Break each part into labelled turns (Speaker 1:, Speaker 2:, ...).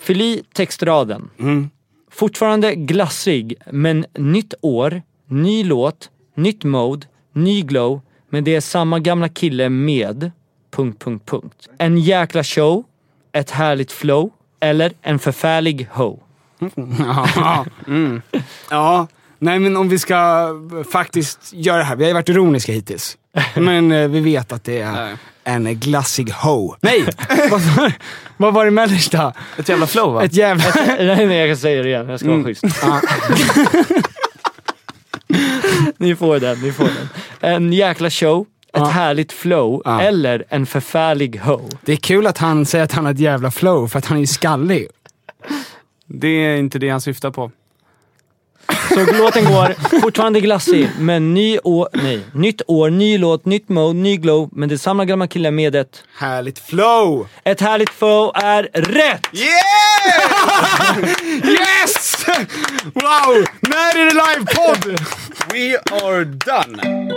Speaker 1: Fyll i textraden. Fortfarande glassig, men nytt år, ny låt, nytt mode, ny glow, men det är samma gamla kille med... Punkt, punkt, punkt. En jäkla show, ett härligt flow, eller en förfärlig ho.
Speaker 2: Ja. Mm. ja. Nej men om vi ska eh, faktiskt göra det här. Vi har ju varit ironiska hittills. Men eh, vi vet att det är
Speaker 3: Nej.
Speaker 2: en glassig ho. Nej! vad, vad var det mellersta?
Speaker 3: Ett jävla flow va?
Speaker 2: Ett jävla...
Speaker 1: Nej, men jag kan säga det igen. Jag ska vara schysst.
Speaker 2: Ja.
Speaker 1: Ni får den, ni får den. En jäkla show, ett härligt flow,
Speaker 2: Ja.
Speaker 1: eller en förfärlig ho.
Speaker 2: Det är kul att han säger att han har ett jävla flow för att han är ju skallig.
Speaker 3: Det är inte det han syftar på.
Speaker 1: Så låten går, fortfarande glassig, men ny år, nej, nytt år, ny låt, nytt mode, ny glow, men det samlar gamla killar med ett.
Speaker 2: Härligt flow!
Speaker 1: Ett härligt flow är rätt!
Speaker 2: Yeah! yes! Wow! När är det livepodd?
Speaker 3: We are done!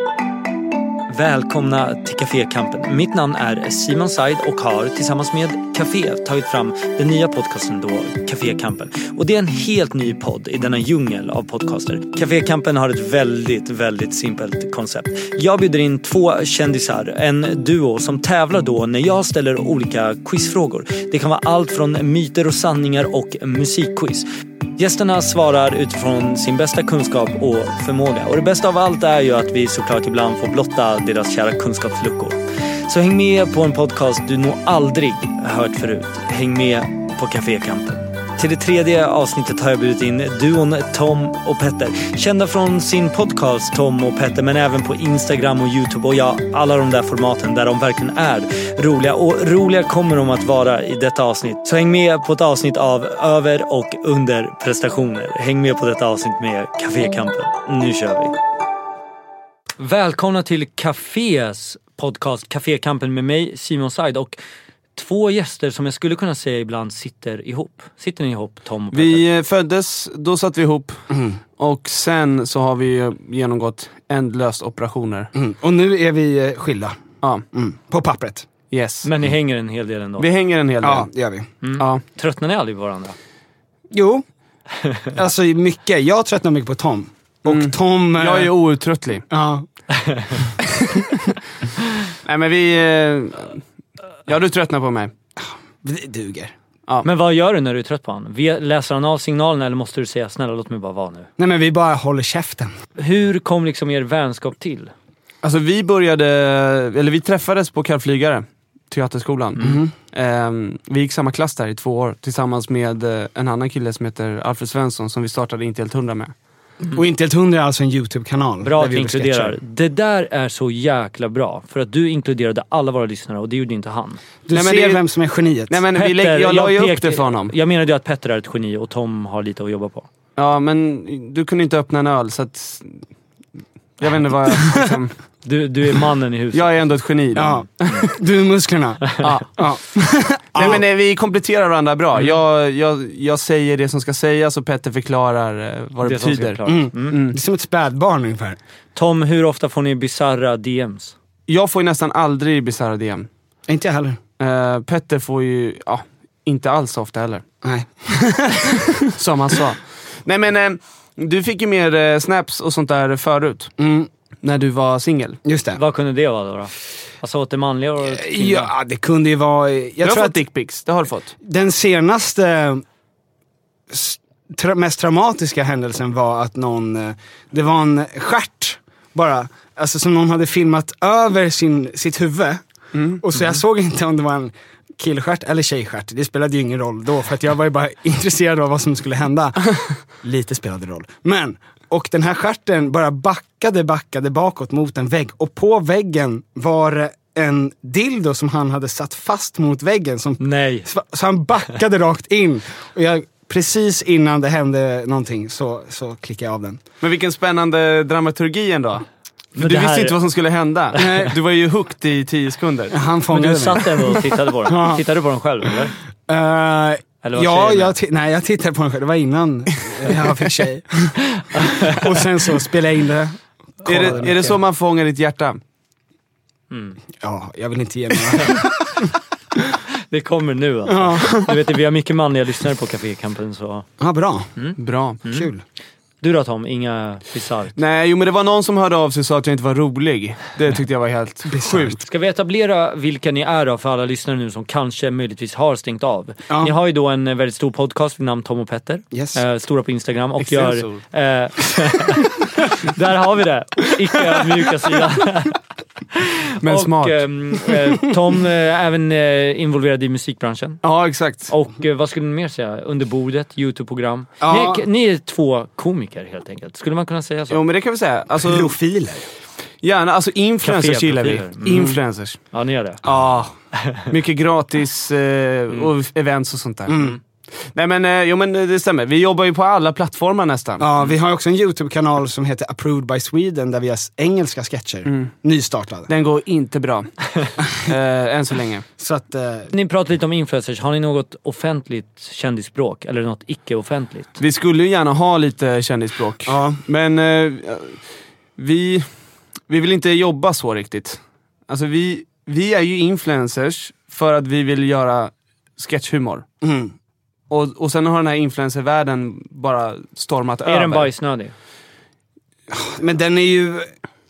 Speaker 1: Välkomna till Cafékampen. Mitt namn är Simon Said och har tillsammans med Café tagit fram den nya podcasten då, Cafékampen. Och det är en helt ny podd i denna djungel av podcaster. Cafékampen har ett väldigt, väldigt simpelt koncept. Jag bjuder in två kändisar, en duo som tävlar då när jag ställer olika quizfrågor. Det kan vara allt från myter och sanningar och musikquiz. Gästerna svarar utifrån sin bästa kunskap och förmåga. Och det bästa av allt är ju att vi såklart ibland får blotta deras kära kunskapsluckor. Så häng med på en podcast du nog aldrig hört förut. Häng med på Cafékampen. Till det tredje avsnittet har jag bjudit in duon Tom och Petter. Kända från sin podcast Tom och Petter men även på Instagram och Youtube och ja, alla de där formaten där de verkligen är roliga. Och roliga kommer de att vara i detta avsnitt. Så häng med på ett avsnitt av över och under prestationer. Häng med på detta avsnitt med Cafékampen. Nu kör vi! Välkomna till Cafés podcast Cafékampen med mig Simon Said och två gäster som jag skulle kunna säga ibland sitter ihop. Sitter ni ihop Tom och Petter?
Speaker 3: Vi eh, föddes, då satt vi ihop. Och sen så har vi eh, genomgått ändlöst operationer.
Speaker 2: Mm. Och nu är vi eh, skilda.
Speaker 3: Ja,
Speaker 2: Mm. På pappret.
Speaker 3: yes.
Speaker 1: Men ni hänger en hel del ändå.
Speaker 3: Vi hänger en hel del.
Speaker 2: Ja, det gör vi.
Speaker 3: Ja.
Speaker 1: Tröttnar ni aldrig på varandra?
Speaker 2: Jo. Alltså mycket. Jag tröttnar mycket på Tom. Och
Speaker 3: Mm.
Speaker 2: Tom... eh,
Speaker 3: Jag är outtröttlig.
Speaker 2: Ja.
Speaker 3: Nej men vi... eh, Ja, du tröttnar på mig.
Speaker 2: Det duger.
Speaker 1: Men vad gör du när du är trött på honom? Vi- Läser han av signalerna eller måste du säga snälla låt mig bara vara nu?
Speaker 2: Nej men vi bara håller käften.
Speaker 1: Hur kom liksom er vänskap till?
Speaker 3: Alltså vi började, eller vi träffades på Kallflygare, Teaterskolan. Ehm, vi gick samma klass där i två år tillsammans med eh, en annan kille som heter Alfred Svensson som vi startade Inte helt hundra med.
Speaker 2: Och Inte helt hundra är alltså en YouTube-kanal.
Speaker 1: Bra
Speaker 2: där
Speaker 1: att
Speaker 2: vi
Speaker 1: vi
Speaker 2: gjorde sketcher.
Speaker 1: inkluderar. Det där är så jäkla bra. För att du inkluderade alla våra lyssnare och det gjorde inte han.
Speaker 2: Du
Speaker 3: Nej, men
Speaker 2: ser
Speaker 3: det-
Speaker 2: vem som är geniet.
Speaker 3: Nej men vi lä- jag la ju upp
Speaker 1: pekade-
Speaker 3: det för honom.
Speaker 1: Jag menade ju att Petter är ett geni och Tom har lite att jobba på.
Speaker 3: Ja men du kunde inte öppna en öl så att... Jag vet inte vad jag... Liksom,
Speaker 1: Du, du är mannen i huset.
Speaker 3: jag är ändå ett geni. då.
Speaker 2: Ja. Du är musklerna.
Speaker 3: Ja.
Speaker 2: Ja. Mm.
Speaker 3: Nej, men eh, vi kompletterar varandra bra. Jag, jag, jag säger det som ska sägas och Petter förklarar eh, vad det,
Speaker 1: Det som ska
Speaker 3: betyder.
Speaker 1: förklaras. Mm.
Speaker 2: Det är som ett spädbarn ungefär.
Speaker 1: Tom, hur ofta får ni bisarra DMs?
Speaker 3: Jag får ju nästan aldrig bisarra DM.
Speaker 2: Inte jag heller.
Speaker 3: Eh, Petter får ju, ja, inte alls så ofta heller.
Speaker 2: Nej.
Speaker 3: Som han sa. Nej men, eh, du fick ju mer eh, snaps och sånt där förut.
Speaker 2: Mm,
Speaker 3: När du var singel.
Speaker 2: just det.
Speaker 1: Vad kunde det vara då? då? Alltså åt det manliga och åt det kvinnliga?
Speaker 2: Ja, det kunde ju vara... Jag
Speaker 3: Du har
Speaker 2: tror
Speaker 3: fått
Speaker 2: att
Speaker 3: dickpics, det har du fått.
Speaker 2: den senaste s- tra mest traumatiska händelsen var att någon... eh, Det var en stjärt bara. Alltså som någon hade filmat över sin, sitt huvud. Och så jag såg inte om det var en killstjärt eller tjejstjärt. Det spelade ju ingen roll då för att jag var ju bara intresserad av vad som skulle hända. Lite spelade roll. Men, och den här stjärten bara backade, backade bakåt mot en vägg och på väggen var det en dildo som han hade satt fast mot väggen som
Speaker 1: Nej.
Speaker 2: så, så han backade rakt in. Och jag, precis innan det hände någonting så, så klickade jag av den.
Speaker 3: Men vilken spännande dramaturgi ändå. För
Speaker 1: Men
Speaker 3: du
Speaker 1: det
Speaker 3: visste
Speaker 1: här-
Speaker 3: inte vad som skulle hända. Du var ju hooked i tio sekunder.
Speaker 2: Han
Speaker 1: Men
Speaker 2: fångade
Speaker 1: du
Speaker 2: mig.
Speaker 1: satt ändå och tittade på den.
Speaker 2: Ja.
Speaker 1: Tittade du på den själv eller?
Speaker 2: Eh,
Speaker 1: Eller var
Speaker 2: ja,
Speaker 1: tjejen med?
Speaker 2: jag, ti- nej, jag tittade på den själv. Det var innan jag fick tjej. och sen så spelade jag in det.
Speaker 3: Är
Speaker 2: kollade
Speaker 3: det, är det
Speaker 2: mycket.
Speaker 3: så man
Speaker 1: Mm.
Speaker 3: fångar ditt hjärta?
Speaker 2: Ja, jag vill inte ge mig.
Speaker 1: Det kommer nu alltså.
Speaker 2: Ja,
Speaker 1: Du vet, vi har mycket manliga lyssnare på Cafékampen så...
Speaker 2: ja bra.
Speaker 3: Bra.
Speaker 2: Kul.
Speaker 1: Du då Tom, inga bisarrt?
Speaker 3: Nej, jo men det var någon som hörde av sig och sa att jag inte var rolig. Det tyckte jag var helt sjukt.
Speaker 1: Ska vi etablera vilka ni är då för alla lyssnare nu som kanske möjligtvis har stängt av?
Speaker 2: Ja.
Speaker 1: Ni har ju då en eh, väldigt stor podcast vid namn Tom och Petter.
Speaker 2: Yes.
Speaker 1: Eh, stora på Instagram och gör...
Speaker 3: Extensor.
Speaker 1: Eh, där har vi det! Icke mjuka sidan.
Speaker 3: Men smart.
Speaker 1: Och, ehm, eh, Tom eh, är även eh, involverad i musikbranschen.
Speaker 3: Ja, exakt.
Speaker 1: Och eh, vad skulle ni mer säga? Under bordet, Youtube-program.
Speaker 2: Ja.
Speaker 1: Ni, ni är två komiker helt enkelt. Skulle man kunna säga så?
Speaker 3: Jo men det kan vi säga. Alltså,
Speaker 2: Profiler.
Speaker 3: gärna, alltså influencers
Speaker 1: Café,
Speaker 3: gillar vi.
Speaker 1: profiler. Mm.
Speaker 3: Influencers.
Speaker 1: Ja, ni gör det.
Speaker 3: Ja, mycket gratis eh, och events och sånt där. Nej men, eh, jo men det stämmer. Vi jobbar ju på alla plattformar nästan.
Speaker 2: Ja, vi har också en YouTube-kanal som heter Approved by Sweden där vi gör s- engelska sketcher. Nystartade.
Speaker 3: Den går inte bra. eh, än så länge.
Speaker 2: Så att, eh,
Speaker 1: Ni pratar lite om influencers. Har ni något offentligt kändisspråk? Eller något icke-offentligt?
Speaker 3: Vi skulle ju gärna ha lite kändisspråk.
Speaker 2: ja.
Speaker 3: Men eh, vi, vi vill inte jobba så riktigt. Alltså vi, vi är ju influencers för att vi vill göra sketchhumor.
Speaker 2: Mm.
Speaker 3: Och, och sen har den här influencervärlden bara stormat över.
Speaker 1: Är den bajsnödig?
Speaker 2: Men den är ju...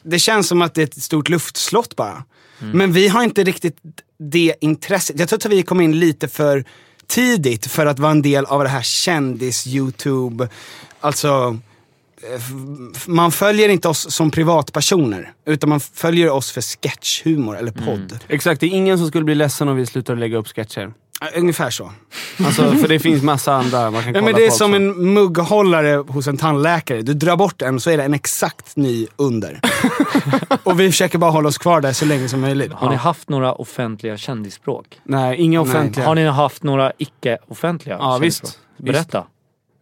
Speaker 2: Det känns som att det är ett stort luftslott bara. Men vi har inte riktigt det intresset. Jag tror att vi kom in lite för tidigt för att vara en del av det här kändis-YouTube. Alltså, eh, f- f- man följer inte oss som privatpersoner. Utan man följer oss för sketchhumor eller podd.
Speaker 3: Exakt, det är ingen som skulle bli ledsen om vi slutar lägga upp sketcher.
Speaker 2: Eh, Ungefär så.
Speaker 3: Alltså, för det finns massa andra man kan kolla
Speaker 2: Ja, men det är
Speaker 3: på
Speaker 2: som
Speaker 3: också.
Speaker 2: en mugghållare hos en tandläkare. Du drar bort en så är det en exakt ny under. Och vi försöker bara hålla oss kvar där så länge som möjligt.
Speaker 1: Har ni haft några offentliga kändisspråk?
Speaker 3: Nej, inga offentliga.
Speaker 1: Har ni haft några icke-offentliga
Speaker 3: Ja,
Speaker 1: kändisspråk?
Speaker 3: visst.
Speaker 1: Berätta.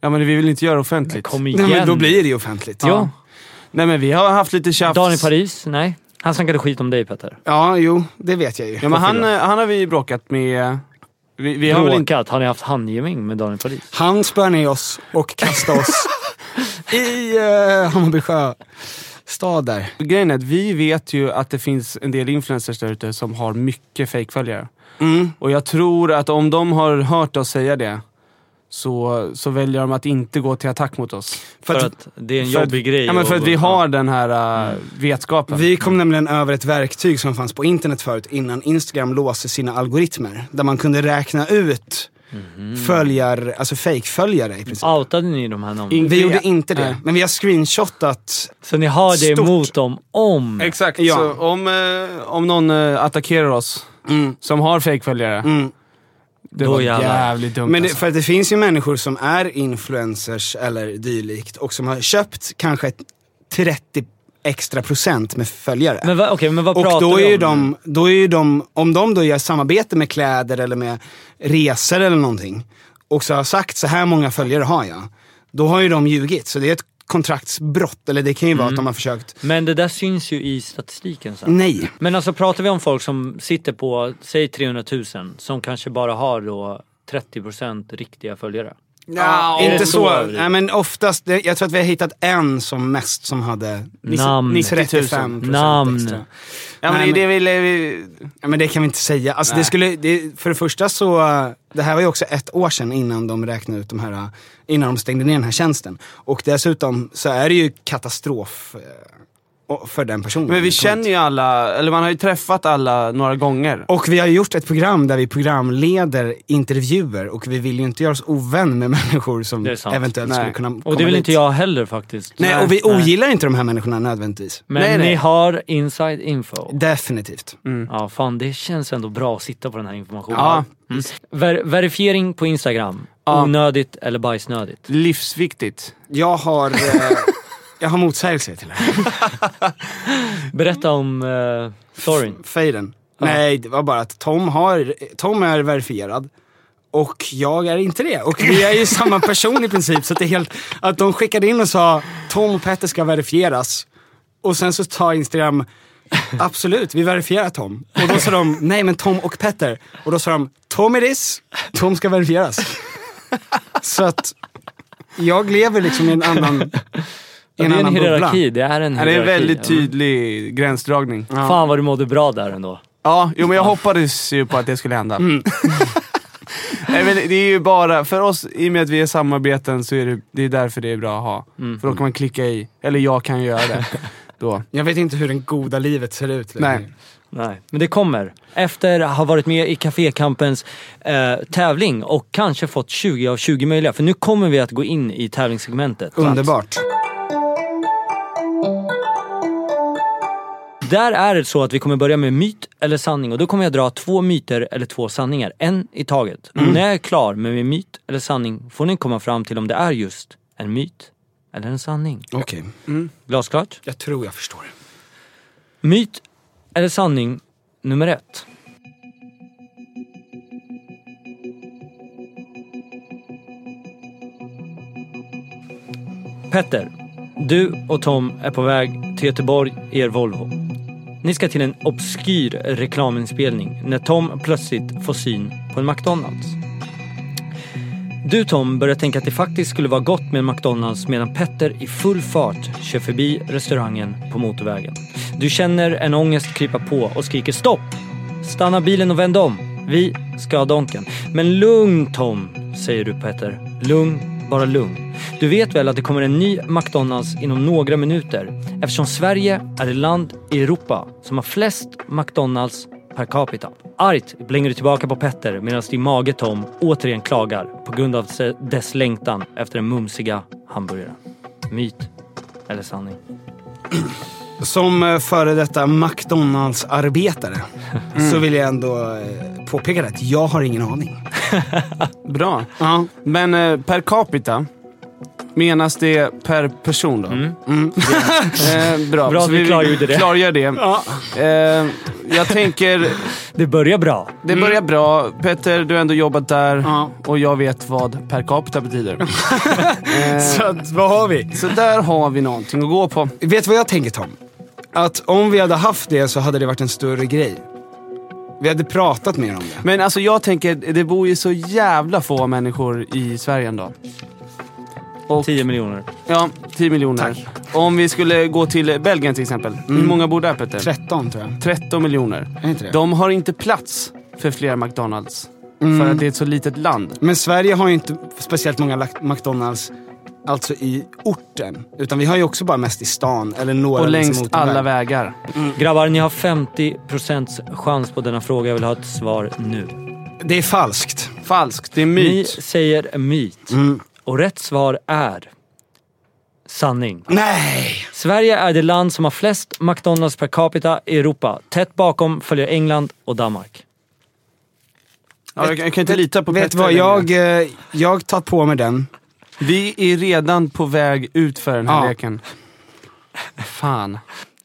Speaker 3: Ja, men vi vill inte göra offentligt.
Speaker 1: Kom igen.
Speaker 2: Nej, men då blir det ju offentligt.
Speaker 1: Ja.
Speaker 3: Nej, men vi har haft lite tjafs.
Speaker 1: Daniel Paris? Nej. Han snackade skit om dig Petter.
Speaker 2: Ja, jo, det vet jag ju.
Speaker 3: Ja, men han, eh, han har vi bråkat med... Vi, vi har väl inte...
Speaker 1: Bråkat? Har ni haft handgemäng med Daniel Paris?
Speaker 2: Han spöar ner oss och kastar oss i eh, Hammarby sjöstad där.
Speaker 3: Grejen är att vi vet ju att det finns en del influencers där ute som har mycket fejkföljare.
Speaker 2: Mm.
Speaker 3: Och jag tror att om de har hört oss säga det så, så väljer de att inte gå till attack mot oss.
Speaker 1: För, att det är en
Speaker 3: för att-
Speaker 1: jobbig grej.
Speaker 3: Ja, men för att vi
Speaker 1: och-
Speaker 3: har den här eh, vetskapen.
Speaker 2: Vi kom nämligen över ett verktyg som fanns på internet förut innan Instagram låste sina algoritmer. Där man kunde räkna ut följar, alltså fake-följare i princip.
Speaker 1: Outade ni de här namnen?
Speaker 3: In-
Speaker 2: Vi gjorde inte det,
Speaker 3: Nej.
Speaker 2: men vi har screenshotat.
Speaker 1: Så ni har det
Speaker 2: Stort.
Speaker 1: emot dem om...
Speaker 3: Exakt.
Speaker 2: Ja.
Speaker 3: Så om, eh, om någon eh, attackerar oss
Speaker 2: Mm.
Speaker 3: som har fejkföljare,
Speaker 2: Mm.
Speaker 3: det
Speaker 1: Då
Speaker 3: var
Speaker 1: jävlar.
Speaker 3: jävligt dumt
Speaker 2: Men det,
Speaker 3: alltså.
Speaker 2: för att det finns ju människor som är influencers eller dylikt och som har köpt kanske ett 30 extra procent med följare.
Speaker 1: Men vad, okej, men vad pratar
Speaker 2: Och då
Speaker 1: vi
Speaker 2: är,
Speaker 1: om?
Speaker 2: ju de, då är ju de, om de då gör samarbete med kläder eller med resor eller någonting och så har sagt så här många följare har jag. Då har ju de ljugit. Så det är ett kontraktsbrott. Eller det kan ju vara
Speaker 1: Mm.
Speaker 2: att de har försökt.
Speaker 1: Men det där syns ju i statistiken sen.
Speaker 2: Nej.
Speaker 1: Men alltså pratar vi om folk som sitter på, säg 300 000, som kanske bara har då 30% riktiga följare.
Speaker 3: Ja,
Speaker 1: är det
Speaker 2: inte
Speaker 1: så
Speaker 2: så.
Speaker 1: överdrivet?
Speaker 2: Nej, men oftast, det- jag tror att vi har hittat en som mest som hade
Speaker 1: Namn.
Speaker 2: 35 procent
Speaker 1: Namn.
Speaker 2: extra.
Speaker 3: ja, men det
Speaker 2: Nej,
Speaker 3: är det vi... vi
Speaker 2: Ja, men det kan vi inte säga. Alltså, det
Speaker 3: Nej.
Speaker 2: skulle, det, för det första så, eh, det här var ju också ett år sedan innan de räknade ut de här, eh, innan de stängde ner den här tjänsten. Och dessutom så är det ju katastrof eh, och- för den personen.
Speaker 3: men vi känner ju alla, eller man har ju träffat alla några gånger.
Speaker 2: Och vi har gjort ett program där vi programleder intervjuer och vi vill ju inte göra oss ovän med människor som
Speaker 1: Det är sant.
Speaker 2: eventuellt
Speaker 3: Nej.
Speaker 2: skulle kunna
Speaker 1: Och
Speaker 2: komma
Speaker 1: det vill
Speaker 2: dit.
Speaker 1: inte jag heller faktiskt.
Speaker 2: Nej, och vi
Speaker 1: Nej.
Speaker 2: ogillar inte de här människorna nödvändigtvis.
Speaker 1: Men
Speaker 3: Nej, nej.
Speaker 1: ni har inside info.
Speaker 2: Definitivt.
Speaker 1: Ja, fan det känns ändå bra att sitta på den här informationen.
Speaker 3: Mm. Ja.
Speaker 1: Mm. Ver- verifiering på Instagram.
Speaker 3: Ja.
Speaker 1: Onödigt eller bajsnödigt?
Speaker 3: Livsviktigt.
Speaker 2: Jag har, eh, jag har motsägelser till det här.
Speaker 1: Berätta om uh, storyn.
Speaker 2: Fejden.
Speaker 1: Ja.
Speaker 2: Nej, det var bara att Tom, har, Tom är verifierad. Och jag är inte det. Och vi är ju samma person i princip. Så att, det är helt, att de skickade in och sa Tom och Petter ska verifieras. Och sen så tar Instagram, absolut vi verifierar Tom. Och då sa de, nej men Tom och Petter. Och då sa de, Tom är this, Tom ska verifieras. Så att jag lever liksom i en annan, i
Speaker 1: Det är
Speaker 2: en
Speaker 1: en
Speaker 2: annan bubbla.
Speaker 1: hierarki. Det är en
Speaker 3: Mm. Ja,
Speaker 1: hierarki.
Speaker 3: det är en väldigt
Speaker 1: Ja.
Speaker 3: tydlig gränsdragning.
Speaker 1: Fan vad du mådde bra där ändå. Mm.
Speaker 3: Ja, jo, men jag hoppades ju på att det skulle hända. Nej, men det är ju bara, för oss, i och med att vi är samarbeten, så är det, det är därför det är bra att ha.
Speaker 1: Mm.
Speaker 3: För då kan man klicka i, eller jag kan göra det. Då.
Speaker 2: Jag vet inte hur det goda livet ser ut längre.
Speaker 3: Nej.
Speaker 1: Nej, men det kommer. Efter att ha varit med i Cafékampens eh, tävling och kanske fått 20 av 20 möjliga. För nu kommer vi att gå in i tävlingssegmentet.
Speaker 2: Underbart.
Speaker 1: Där är det så att vi kommer börja med myt eller sanning och då kommer jag dra två myter eller två sanningar, en i taget. När jag är klar med min myt eller sanning får ni komma fram till om det är just en myt eller en sanning.
Speaker 2: Okej.
Speaker 1: Glasklart?
Speaker 2: Jag tror jag förstår.
Speaker 1: Myt eller sanning nummer ett. Petter, du och Tom är på väg till Göteborg i er Volvo. Ni ska till en obskyr reklaminspelning när Tom plötsligt får syn på en McDonalds. Du Tom börjar tänka att det faktiskt skulle vara gott med en McDonalds medan Petter i full fart kör förbi restaurangen på motorvägen. Du känner en ångest krypa på och skriker stopp! Stanna bilen och vänd om. Vi ska ha Donken. Men lugn Tom, säger du Petter. Lugn, bara lugn. Du vet väl att det kommer en ny McDonalds inom några minuter eftersom Sverige är det land i Europa som har flest McDonalds per capita. Argt blänger du tillbaka på Petter medan din mage Tom återigen klagar på grund av se- dess längtan efter den mumsiga hamburgaren. Myt eller sanning?
Speaker 2: Som eh, före detta McDonalds-arbetare så vill jag ändå eh, påpeka det att jag har ingen aning.
Speaker 3: Bra.
Speaker 2: Ja.
Speaker 3: Men eh, per capita, menas det per person då? Mm. Eh, bra.
Speaker 1: Mm. Bra att vi
Speaker 3: vill
Speaker 1: klargjorde det.
Speaker 3: Klargör det.
Speaker 2: Ja.
Speaker 3: Eh, jag tänker,
Speaker 1: Det börjar bra.
Speaker 3: det börjar bra. Petter, du har ändå jobbat där
Speaker 2: Ja.
Speaker 3: och jag vet vad per capita betyder. Eh,
Speaker 2: Så att, vad har vi?
Speaker 3: Så där har vi någonting att gå på.
Speaker 2: Vet du vad jag tänker Tom? Att om vi hade haft det så hade det varit en större grej. Vi hade pratat mer om det.
Speaker 3: Men alltså jag tänker, det bor ju så jävla få människor i Sverige ändå. Och,
Speaker 1: 10 miljoner.
Speaker 3: ja, 10 miljoner. Om vi skulle gå till Belgien till exempel.
Speaker 2: Mm.
Speaker 3: Hur många bor där Petter?
Speaker 2: 13 tror jag.
Speaker 3: 13 miljoner.
Speaker 2: Är inte det?
Speaker 3: De har inte plats för fler McDonalds.
Speaker 2: Mm.
Speaker 3: För att det är ett så litet land.
Speaker 2: Men Sverige har ju inte speciellt många lak- McDonalds alltså i orten. Utan vi har ju också bara mest i stan eller några
Speaker 3: Och
Speaker 2: liksom
Speaker 3: längs
Speaker 2: motorväg.
Speaker 3: alla vägar.
Speaker 1: Grabbar, ni har 50% chans på denna fråga. Jag vill ha ett svar nu.
Speaker 2: Det är falskt.
Speaker 3: Falskt, det är
Speaker 1: Ni
Speaker 3: myt.
Speaker 1: säger myt. Och rätt svar är sanning.
Speaker 2: Nej!
Speaker 1: Sverige är det land som har flest McDonalds per capita i Europa. Tätt bakom följer England och Danmark.
Speaker 3: Ja, jag, jag kan inte lita på
Speaker 2: Vet
Speaker 3: Petter
Speaker 2: du vad,
Speaker 3: längre.
Speaker 2: jag, eh, jag tar på mig den.
Speaker 3: Vi är redan på väg ut för den här
Speaker 2: Ja.
Speaker 3: leken. Fan.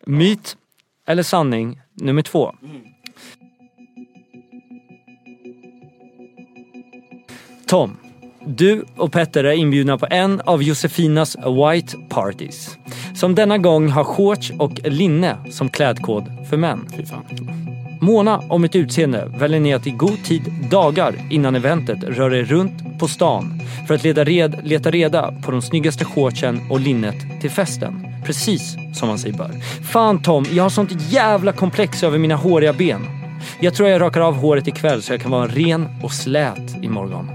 Speaker 1: Myt eller sanning nummer två. Tom, du och Petter är inbjudna på en av Josefinas White Parties. Som denna gång har shorts och linne som klädkod för män.
Speaker 3: Fy fan.
Speaker 1: Måna om ett utseende väljer ni att i god tid dagar innan eventet röra er runt på stan för att leta, red, leta reda på de snyggaste shortsen och linnet till festen. Precis som man säger bör. Fan Tom, jag har sånt jävla komplex över mina håriga ben. Jag tror jag rakar av håret ikväll så jag kan vara ren och slät imorgon.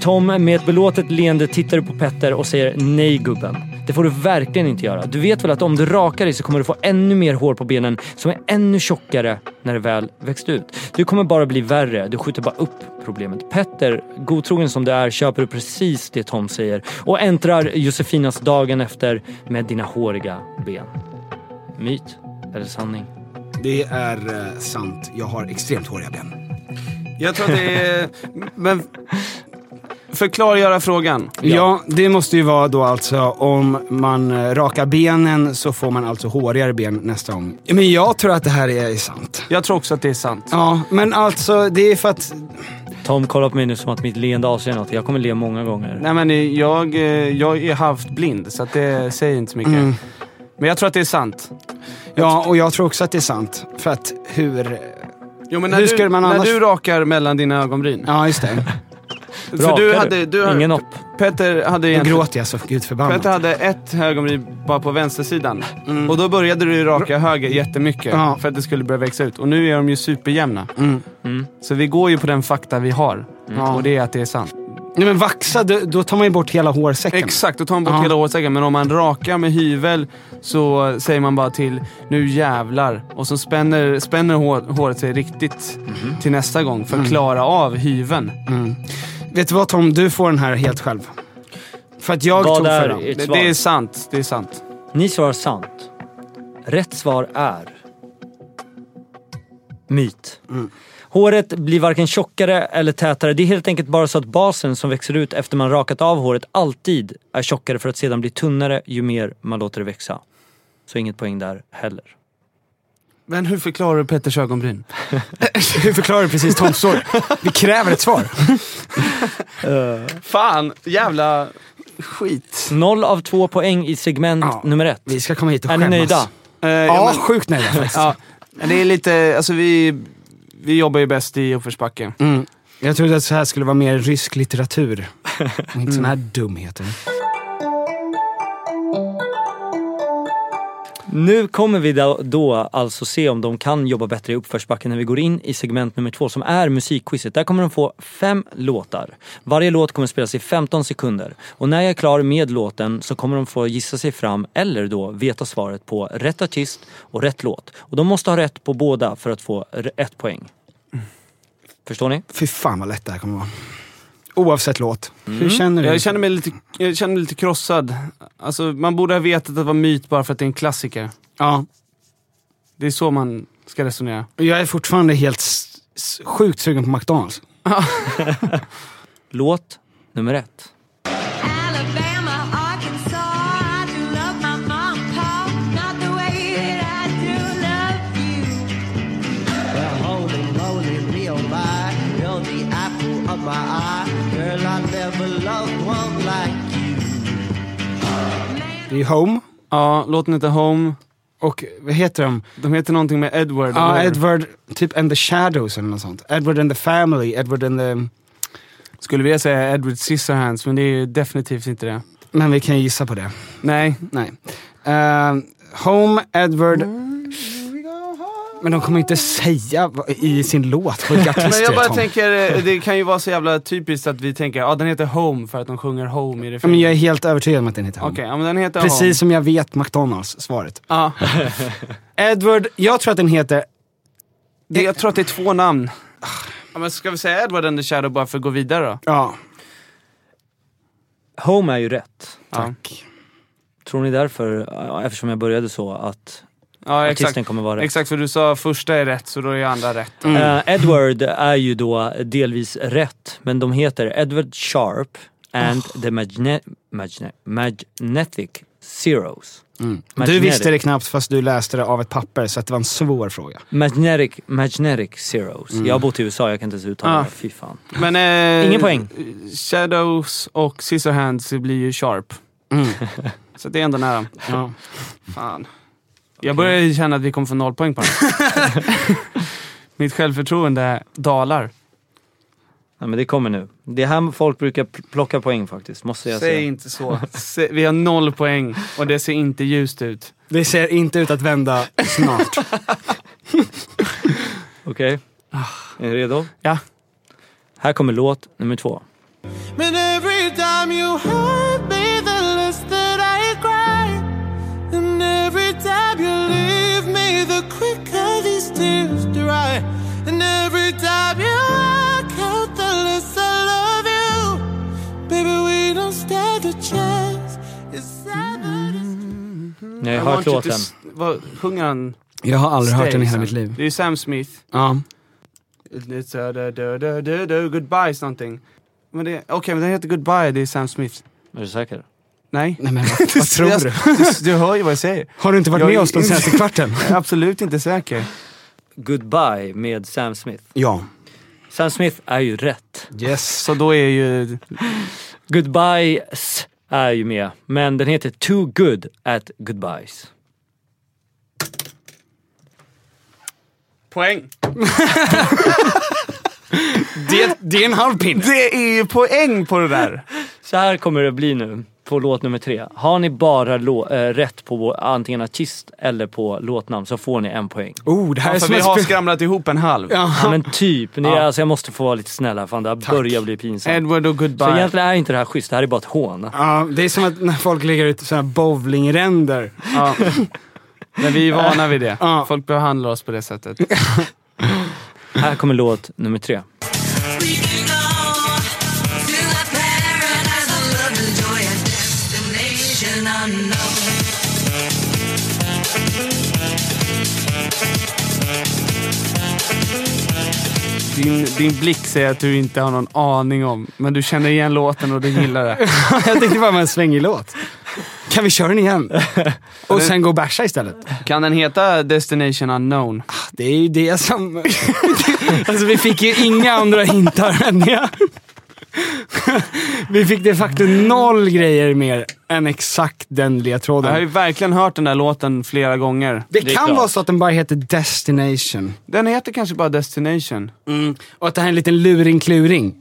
Speaker 1: Tom med ett belåtet leende tittar upp på Petter och säger nej gubben. Det får du verkligen inte göra. Du vet väl att om du rakar dig så kommer du få ännu mer hår på benen som är ännu tjockare när det väl växt ut. Du kommer bara bli värre. Du skjuter bara upp problemet. Petter, godtrogen som du är, köper du precis det Tom säger och äntrar Josefinas dagen efter med dina håriga ben. Myt eller sanning?
Speaker 2: Det är eh, sant. Jag har extremt håriga ben.
Speaker 3: Jag tror att det är... Men... Förklargöra frågan.
Speaker 2: Ja. det måste ju vara då alltså om man eh, rakar benen så får man alltså hårigare ben nästa gång. Men jag tror att det här är sant.
Speaker 3: Jag tror också att det är sant.
Speaker 2: Ja, men alltså det är för att...
Speaker 1: Tom kollar på mig nu som att mitt leende avslöjar något. Jag kommer le många gånger.
Speaker 3: Nej men eh, jag, eh, jag är halvt blind så att det säger inte så mycket. Men jag tror att det är sant.
Speaker 2: mm. Ja, och jag tror också att det är sant. För att hur...
Speaker 3: Jo, men
Speaker 2: Hur skulle man
Speaker 3: när
Speaker 2: annars-
Speaker 3: du rakar mellan dina ögonbryn,
Speaker 2: Ja, just det.
Speaker 3: För du
Speaker 1: Rakar
Speaker 3: hade, du
Speaker 1: Ingen
Speaker 3: hade,
Speaker 1: opp.
Speaker 3: Petter hade
Speaker 2: Nu
Speaker 3: egentligen...
Speaker 2: gråter jag så gud förbannat. Mm,
Speaker 3: Petter hade ett högonbryn bara på vänstersidan. Och då började du ju raka höger jättemycket
Speaker 2: Ja.
Speaker 3: för att det skulle börja växa ut. Och nu är de ju superjämna.
Speaker 2: Mm.
Speaker 1: Mm.
Speaker 3: Så vi går ju på den fakta vi har.
Speaker 2: Ja.
Speaker 3: Och det är att det är sant.
Speaker 2: Nej men vaxa, då, då tar man ju bort hela hårsäcken.
Speaker 3: Exakt, då tar man bort
Speaker 2: Ja.
Speaker 3: hela hårsäcken. Men om man rakar med hyvel så säger man bara till nu jävlar. Och så spänner, spänner hår, håret sig riktigt till nästa gång för att klara av hyveln.
Speaker 2: Mm. Vet du vad Tom, du får den här helt själv. För att jag
Speaker 1: Vad
Speaker 2: tog
Speaker 1: är
Speaker 2: förra.
Speaker 1: ert
Speaker 3: Det,
Speaker 1: svar?
Speaker 3: det är sant, det är sant.
Speaker 1: Ni svarar sant. Rätt svar är... Myt.
Speaker 2: Mm.
Speaker 1: Håret blir varken tjockare eller tätare. Det är helt enkelt bara så att basen som växer ut efter man rakat av håret alltid är tjockare för att sedan bli tunnare ju mer man låter det växa. Så inget poäng där heller.
Speaker 3: Men hur förklarar du Petters ögonbryn?
Speaker 2: Hur förklarar du precis Toms story? Vi kräver ett svar.
Speaker 3: Fan, jävla skit.
Speaker 1: Noll av två poäng i segment
Speaker 2: Ja.
Speaker 1: nummer ett.
Speaker 2: Vi ska komma hit och
Speaker 1: Är ni
Speaker 2: skämmas.
Speaker 1: nöjda?
Speaker 3: Eh,
Speaker 2: Ja,
Speaker 3: ja,
Speaker 2: sjukt nöjda faktiskt.
Speaker 3: men, ja, Men det är lite, alltså vi, vi jobbar ju bäst i uppförsbacke.
Speaker 2: Mm. Jag trodde att så här skulle vara mer rysk litteratur. Och inte såna här dumheter.
Speaker 1: Nu kommer vi då, då alltså se om de kan jobba bättre i uppförsbacken när vi går in i segment nummer två som är musikquizet. Där kommer de få fem låtar. Varje låt kommer spelas i 15 sekunder. Och när jag är klar med låten så kommer de få gissa sig fram eller då veta svaret på rätt artist och rätt låt. Och de måste ha rätt på båda för att få r- ett poäng. Förstår ni?
Speaker 2: Fy fan vad lätt det här kommer vara. Oavsett låt. Hur känner du?
Speaker 3: Jag känner mig lite, jag känner mig lite krossad. Alltså, man borde ha vetat att det var myt bara för att det är en klassiker.
Speaker 2: Ja.
Speaker 3: Det är så man ska resonera.
Speaker 2: Jag är fortfarande helt s- s- sjukt sugen på McDonalds.
Speaker 1: Låt nummer ett.
Speaker 4: Alabama, Arkansas, I do love my mom and pop, not the way that I do love you.
Speaker 5: Well, holy moly, real my, you're the apple of my eye. Girl, I never loved one like you.
Speaker 2: Det är ju Home.
Speaker 3: Ja, låten heter Home.
Speaker 2: Och vad heter de?
Speaker 3: De heter någonting med Edward.
Speaker 2: Ja,
Speaker 3: eller hur?
Speaker 2: Edward, typ and the Shadows eller något sånt. Edward and the Family, Edward and the...
Speaker 3: Skulle vilja säga Edward Scissorhands, men det är ju definitivt inte det.
Speaker 2: Men vi kan ju gissa på det.
Speaker 3: Nej,
Speaker 2: Nej. Eh, home, Edward...
Speaker 3: Mm,
Speaker 2: Men de kommer inte säga vad- i sin låt vilka
Speaker 3: men
Speaker 2: artister
Speaker 3: jag
Speaker 2: det är
Speaker 3: bara
Speaker 2: Tom.
Speaker 3: tänker, eh, det kan ju vara så jävla typiskt att vi tänker, ja ah, den heter Home för att de sjunger Home i
Speaker 2: Ja, Men
Speaker 3: refrängen.
Speaker 2: jag är helt övertygad om att den heter Home.
Speaker 3: Okej, ja men den heter
Speaker 2: Precis
Speaker 3: Home.
Speaker 2: som jag vet McDonalds, svaret.
Speaker 3: Ja,
Speaker 2: Edward, jag tror att den heter...
Speaker 3: det, jag tror att det är två namn. Ja, men ska vi säga Edward and the Shadow bara för att gå vidare då?
Speaker 2: Ja,
Speaker 1: Home är ju rätt.
Speaker 3: Ja,
Speaker 2: tack.
Speaker 1: Tror ni därför, ja, eftersom jag började så, att
Speaker 3: ja exakt.
Speaker 1: artisten kommer vara rätt?
Speaker 3: Exakt, för du sa första är rätt så då är andra rätt.
Speaker 1: Eh, Edward är ju då delvis rätt, men de heter Edward Sharp and
Speaker 3: Ah.
Speaker 1: the Magne- Magne- Magnetic Zeros.
Speaker 2: Mm. Du
Speaker 1: Magnetic.
Speaker 2: visste det knappt fast du läste det av ett papper så att det var en svår fråga.
Speaker 1: Magnetic, magnetic Zeros. Jag har bott i USA, jag kan inte ens uttala
Speaker 3: Mm. Ah.
Speaker 1: det. Fy fan.
Speaker 3: Men, eh,
Speaker 1: Ingen poäng.
Speaker 3: Shadows och Scissorhands blir ju sharp.
Speaker 1: Mm.
Speaker 3: så det är ändå nära.
Speaker 2: Ja.
Speaker 3: Fan. Jag börjar ju känna att vi kommer få noll poäng på den. Mitt självförtroende dalar.
Speaker 1: Ja, men det kommer nu. Det är här folk brukar pl- plocka poäng faktiskt, måste jag
Speaker 3: Säg
Speaker 1: säga.
Speaker 3: inte så. Sä- Vi har noll poäng och det ser inte ljust ut.
Speaker 2: Det ser inte ut att vända snart.
Speaker 1: Okej? Är ni redo?
Speaker 3: Ah. Ja.
Speaker 1: Här kommer låt nummer två.
Speaker 5: And every time you hurt me, the less that I cry. And every time you leave me, the quicker these tears dry. And every time you walk out, the less I love you. Baby, we don't stand a chance. It's sad, but it's
Speaker 1: Ni har
Speaker 3: I
Speaker 1: ju
Speaker 3: want
Speaker 1: hört
Speaker 3: you to
Speaker 1: låten.
Speaker 3: s- Vad sjunger han?
Speaker 2: Jag har aldrig hört den i hela
Speaker 3: Stays.
Speaker 2: mitt liv.
Speaker 3: Det är ju Sam Smith.
Speaker 2: Ja.
Speaker 3: It's a da, da, da, da, da, goodbyes någonting. Men det, okej, men den heter Goodbye, det är Sam Smith.
Speaker 1: Är du säker?
Speaker 3: Nej.
Speaker 2: Nej men vad, vad tror du?
Speaker 3: Du hör ju vad jag säger.
Speaker 2: Har du inte varit
Speaker 3: Jag
Speaker 2: med
Speaker 3: är-
Speaker 2: oss de senaste kvarten?
Speaker 3: Jag är absolut inte säker.
Speaker 1: Goodbye med Sam Smith.
Speaker 2: Ja.
Speaker 1: Sam Smith är ju rätt.
Speaker 2: Yes.
Speaker 3: Så då är ju...
Speaker 1: Goodbyes är ju med, men den heter Too Good at Goodbyes.
Speaker 3: Poäng!
Speaker 2: Det, det är en halv pinne.
Speaker 3: Det är ju poäng på det där.
Speaker 1: Så här kommer det bli nu på låt nummer tre. Har ni bara lå- eh, rätt på vår- antingen artist eller på låtnamn så får ni en poäng.
Speaker 2: Oh, det här är
Speaker 3: För
Speaker 2: som
Speaker 3: Alltså, vi
Speaker 2: ett
Speaker 3: har
Speaker 2: spel-
Speaker 3: skramlat ihop en halv.
Speaker 1: Ja men typ, ni,
Speaker 3: Ja.
Speaker 1: alltså jag måste få vara lite snäll här fan det här börjar bli pinsamt.
Speaker 3: Edward och
Speaker 1: Så
Speaker 3: goodbye.
Speaker 1: egentligen är inte det här schysst, det här är bara ett hån.
Speaker 2: Ja, det är som att när folk lägger ut sådana här bowlingränder.
Speaker 3: Ja. Men vi är vana vid det.
Speaker 2: Ja.
Speaker 3: Folk behandlar oss på det sättet.
Speaker 1: Här kommer låt nummer tre.
Speaker 4: We can go to the paradise of love and joy, a destination unknown.
Speaker 3: Din, din blick säger att du inte har någon aning om, men du känner igen låten och du gillar det.
Speaker 2: Jag tänkte bara med en svängig låt. Kan vi köra den igen? Och sen gå och basha istället.
Speaker 3: Kan den heta Destination Unknown?
Speaker 2: Det är ju det som... alltså vi fick ju inga andra hintar än det. vi fick de facto noll grejer mer än exakt den
Speaker 3: Jag har
Speaker 2: ledtråden.
Speaker 3: ju verkligen hört den där låten flera gånger.
Speaker 2: Det
Speaker 1: det är
Speaker 2: kan
Speaker 1: klart.
Speaker 2: vara så att den bara heter Destination. Mm.
Speaker 3: Den heter kanske bara Destination.
Speaker 2: Och att det här är en liten luring-kluring.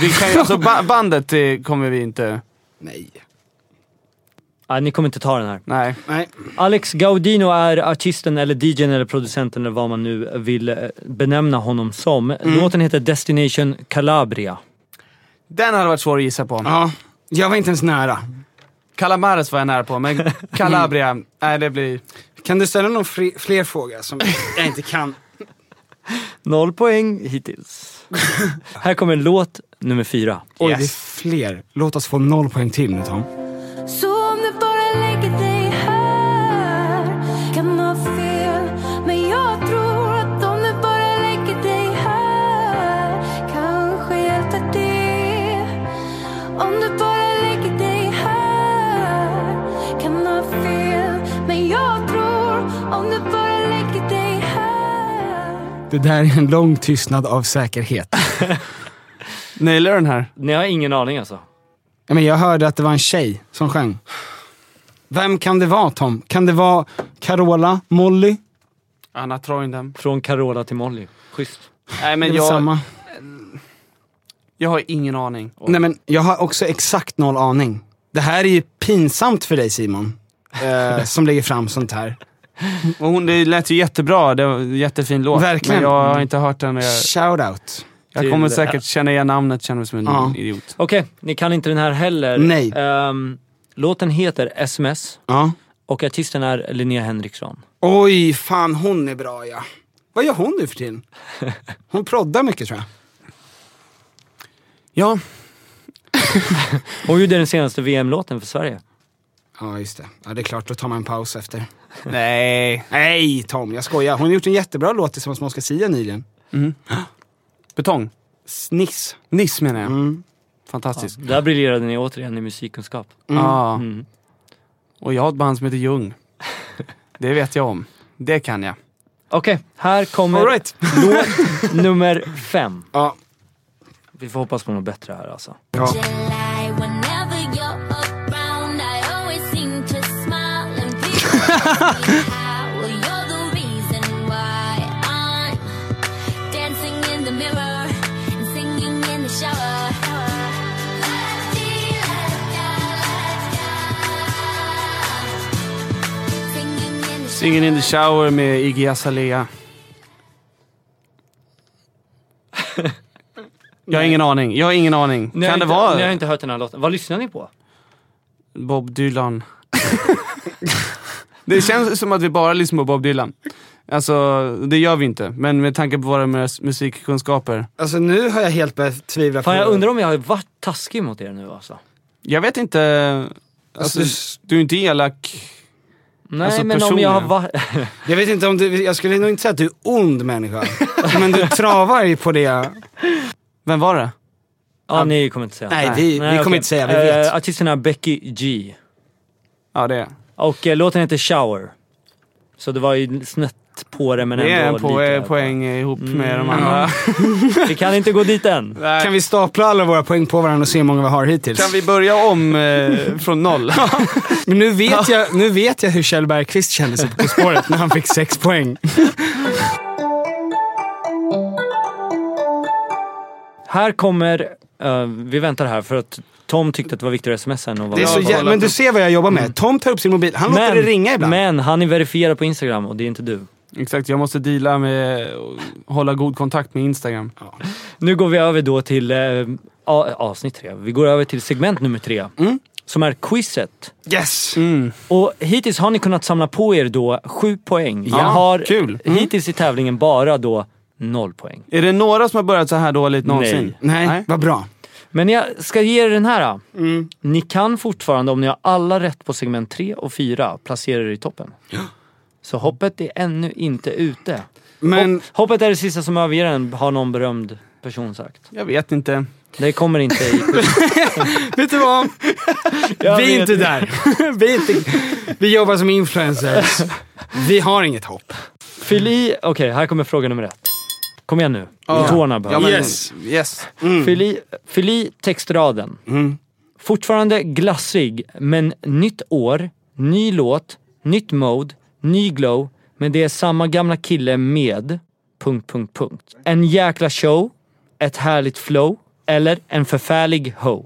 Speaker 3: Vi kan, ju- alltså, ba bandet eh, kommer vi inte...
Speaker 2: Nej.
Speaker 1: Nej, ni kommer inte ta den här.
Speaker 3: Nej.
Speaker 2: Nej.
Speaker 1: Alex Gaudino är artisten eller DJn eller producenten eller vad man nu vill eh, benämna honom som. Låten heter Destination Calabria.
Speaker 3: Den hade varit svår att gissa på.
Speaker 2: Ja, jag var inte ens nära.
Speaker 3: Calamares var jag nära på, men Calabria, nej det blir...
Speaker 2: Kan du ställa någon fri- fler fråga som jag inte kan?
Speaker 1: Noll poäng hittills. här kommer låt nummer fyra.
Speaker 2: Oj,
Speaker 3: Yes.
Speaker 2: det är fler. Låt oss få noll poäng till nu Tom.
Speaker 4: Så om det bara lägger dig här kan ha fel Men jag tror att om det bara lägger dig här kanske hjälper det Om du bara lägger dig här kan ha fel Men jag tror om du bara lägger dig här
Speaker 2: Det där är en lång tystnad av säkerhet.
Speaker 3: Nailar den här.
Speaker 1: Ni har ingen aning alltså?
Speaker 2: Ja, Men jag hörde att det var en tjej som sjöng. Vem kan det vara Tom? Kan det vara Carola, Molly?
Speaker 3: Anna Troindam.
Speaker 1: Från Carola till Molly. Schysst.
Speaker 3: Nej men
Speaker 2: det är väl
Speaker 3: jag,
Speaker 2: samma.
Speaker 3: jag har ingen aning.
Speaker 2: Nej men jag har också exakt noll aning. Det här är ju pinsamt för dig Simon. eh, som lägger fram sånt här.
Speaker 3: Och hon, det lät ju jättebra, det var en jättefin låt.
Speaker 2: Verkligen.
Speaker 3: Men jag har inte hört den och jag,
Speaker 2: Shout out.
Speaker 3: jag kommer
Speaker 1: Till-
Speaker 3: säkert känna igen namnet, känner mig som en
Speaker 2: Ja.
Speaker 3: idiot.
Speaker 1: Okej, ni kan inte den här heller.
Speaker 2: Nej.
Speaker 1: Ehm, låten heter SMS
Speaker 2: Ja.
Speaker 1: och artisten är Linnea Henriksson.
Speaker 2: Oj, fan hon är bra ja. Vad gör hon nu för tiden? Hon proddar mycket tror jag.
Speaker 3: Ja,
Speaker 1: Hon gjorde den senaste VM-låten för Sverige.
Speaker 2: Ja, just det. Ja, det är klart. Då tar man en paus efter.
Speaker 3: nej.
Speaker 2: Nej, Tom. Jag skojar. Hon har gjort en jättebra låt tillsammans med Oscar Sia nyligen.
Speaker 3: Betong.
Speaker 2: Sniss.
Speaker 3: Niss menar
Speaker 2: Mm.
Speaker 3: jag. Fantastiskt.
Speaker 1: Där briljerade ni återigen i musikkunskap. Mm.
Speaker 3: Ja.
Speaker 2: Mm.
Speaker 3: Och jag har ett band som heter Ljung. Det vet jag om. Det kan jag.
Speaker 1: Okej, här kommer
Speaker 2: All right.
Speaker 1: låt nummer fem.
Speaker 2: Ja.
Speaker 1: Vi får hoppas på något bättre här alltså.
Speaker 2: ja.
Speaker 4: July, whenever you're around, I always seem to smile and people ask me how. Well, you're the reason why I'm dancing in the mirror and singing in the shower. La-di-la-da, la-da. Singing in the
Speaker 3: Singing in the shower med Iggy Azalea. Jag har ingen aning. Jag har ingen aning.
Speaker 1: Ni har
Speaker 3: kan det
Speaker 1: inte, Ni har
Speaker 3: vara
Speaker 1: inte hört den här låten. Vad lyssnar ni på?
Speaker 3: Bob Dylan? det känns som att vi bara lyssnar på Bob Dylan. Alltså, det gör vi inte. Men med tanke på våra mus- musikkunskaper.
Speaker 2: Alltså nu har jag helt börjat tvivla på...
Speaker 1: Fan jag undrar om jag har varit taskig mot er nu alltså.
Speaker 3: Jag vet inte. Alltså,
Speaker 2: Alltså,
Speaker 3: du är inte elak.
Speaker 1: Nej
Speaker 3: Alltså,
Speaker 1: men om jag har
Speaker 3: personer.
Speaker 1: varit...
Speaker 2: jag vet inte om du... Jag skulle nog inte säga att du är ond människa. men du travar ju på det.
Speaker 3: Vem var det?
Speaker 1: ja ni kommer inte säga.
Speaker 2: Nej, vi- vi kommer
Speaker 1: okej.
Speaker 2: inte säga, vi vet.
Speaker 1: Eh, artisten är Becky G.
Speaker 3: Ja, det är
Speaker 1: Och eh, låten heter Shower. Så det var ju snett på det men
Speaker 3: Det är
Speaker 1: ändå
Speaker 3: en po-
Speaker 1: lite- Mm.
Speaker 3: eh, poäng ihop med de andra.
Speaker 1: Vi kan inte gå dit än.
Speaker 2: Kan vi stapla alla våra poäng på varandra och se hur många vi har hittills?
Speaker 3: Kan vi börja om eh, från noll?
Speaker 2: Men nu vet, jag, nu vet jag hur Kjell Bergqvist kände sig på På spåret när han fick sex poäng.
Speaker 1: Här kommer, eh, vi väntar här för att Tom tyckte att det var viktigare att smsa än att vara
Speaker 2: Det är så
Speaker 3: Jag har
Speaker 2: jä-
Speaker 3: kollat
Speaker 2: men du
Speaker 3: upp.
Speaker 2: ser vad jag jobbar med. Tom tar upp sin mobil, han låter det ringa ibland.
Speaker 1: Men han är verifierad på Instagram och det är inte du.
Speaker 3: Exakt, jag måste deala med och hålla god kontakt med Instagram.
Speaker 1: Nu går vi över då till eh, a- avsnitt tre. Vi går över till segment nummer tre. Som är quizet.
Speaker 2: Yes!
Speaker 1: Och hittills har ni kunnat samla på er då sju poäng.
Speaker 3: Ja,
Speaker 1: jag har
Speaker 3: kul.
Speaker 1: hittills i tävlingen bara då noll poäng.
Speaker 3: Är det några som har börjat så här dåligt någonsin?
Speaker 1: Nej.
Speaker 2: Nej,
Speaker 3: Nej.
Speaker 2: vad bra.
Speaker 1: Men jag ska ge er den här. Ni kan fortfarande, om ni har alla rätt på segment 3 och 4, placera er i toppen. Så hoppet är ännu inte ute.
Speaker 2: Men
Speaker 1: Hopp, hoppet är det sista som överger en, har någon berömd person sagt.
Speaker 3: Jag vet inte.
Speaker 1: Det kommer inte i...
Speaker 2: vet du vad?
Speaker 1: Jag
Speaker 2: vi är
Speaker 1: vet
Speaker 2: inte där. vi, är inte, vi jobbar som influencers. Vi har inget hopp.
Speaker 1: Fyll i... Okej, här kommer fråga nummer ett. Kom igen nu.
Speaker 3: Ja.
Speaker 1: Tårna
Speaker 3: Ja,
Speaker 1: behövs.
Speaker 3: men,
Speaker 2: Yes.
Speaker 3: yes.
Speaker 1: Fyll, i, fyll i textraden.
Speaker 3: Mm.
Speaker 1: Fortfarande glassig, men nytt år, ny låt, nytt mode, ny glow, men det är samma gamla kille med... Punkt, punkt, punkt. En jäkla show, ett härligt flow, eller en förfärlig ho.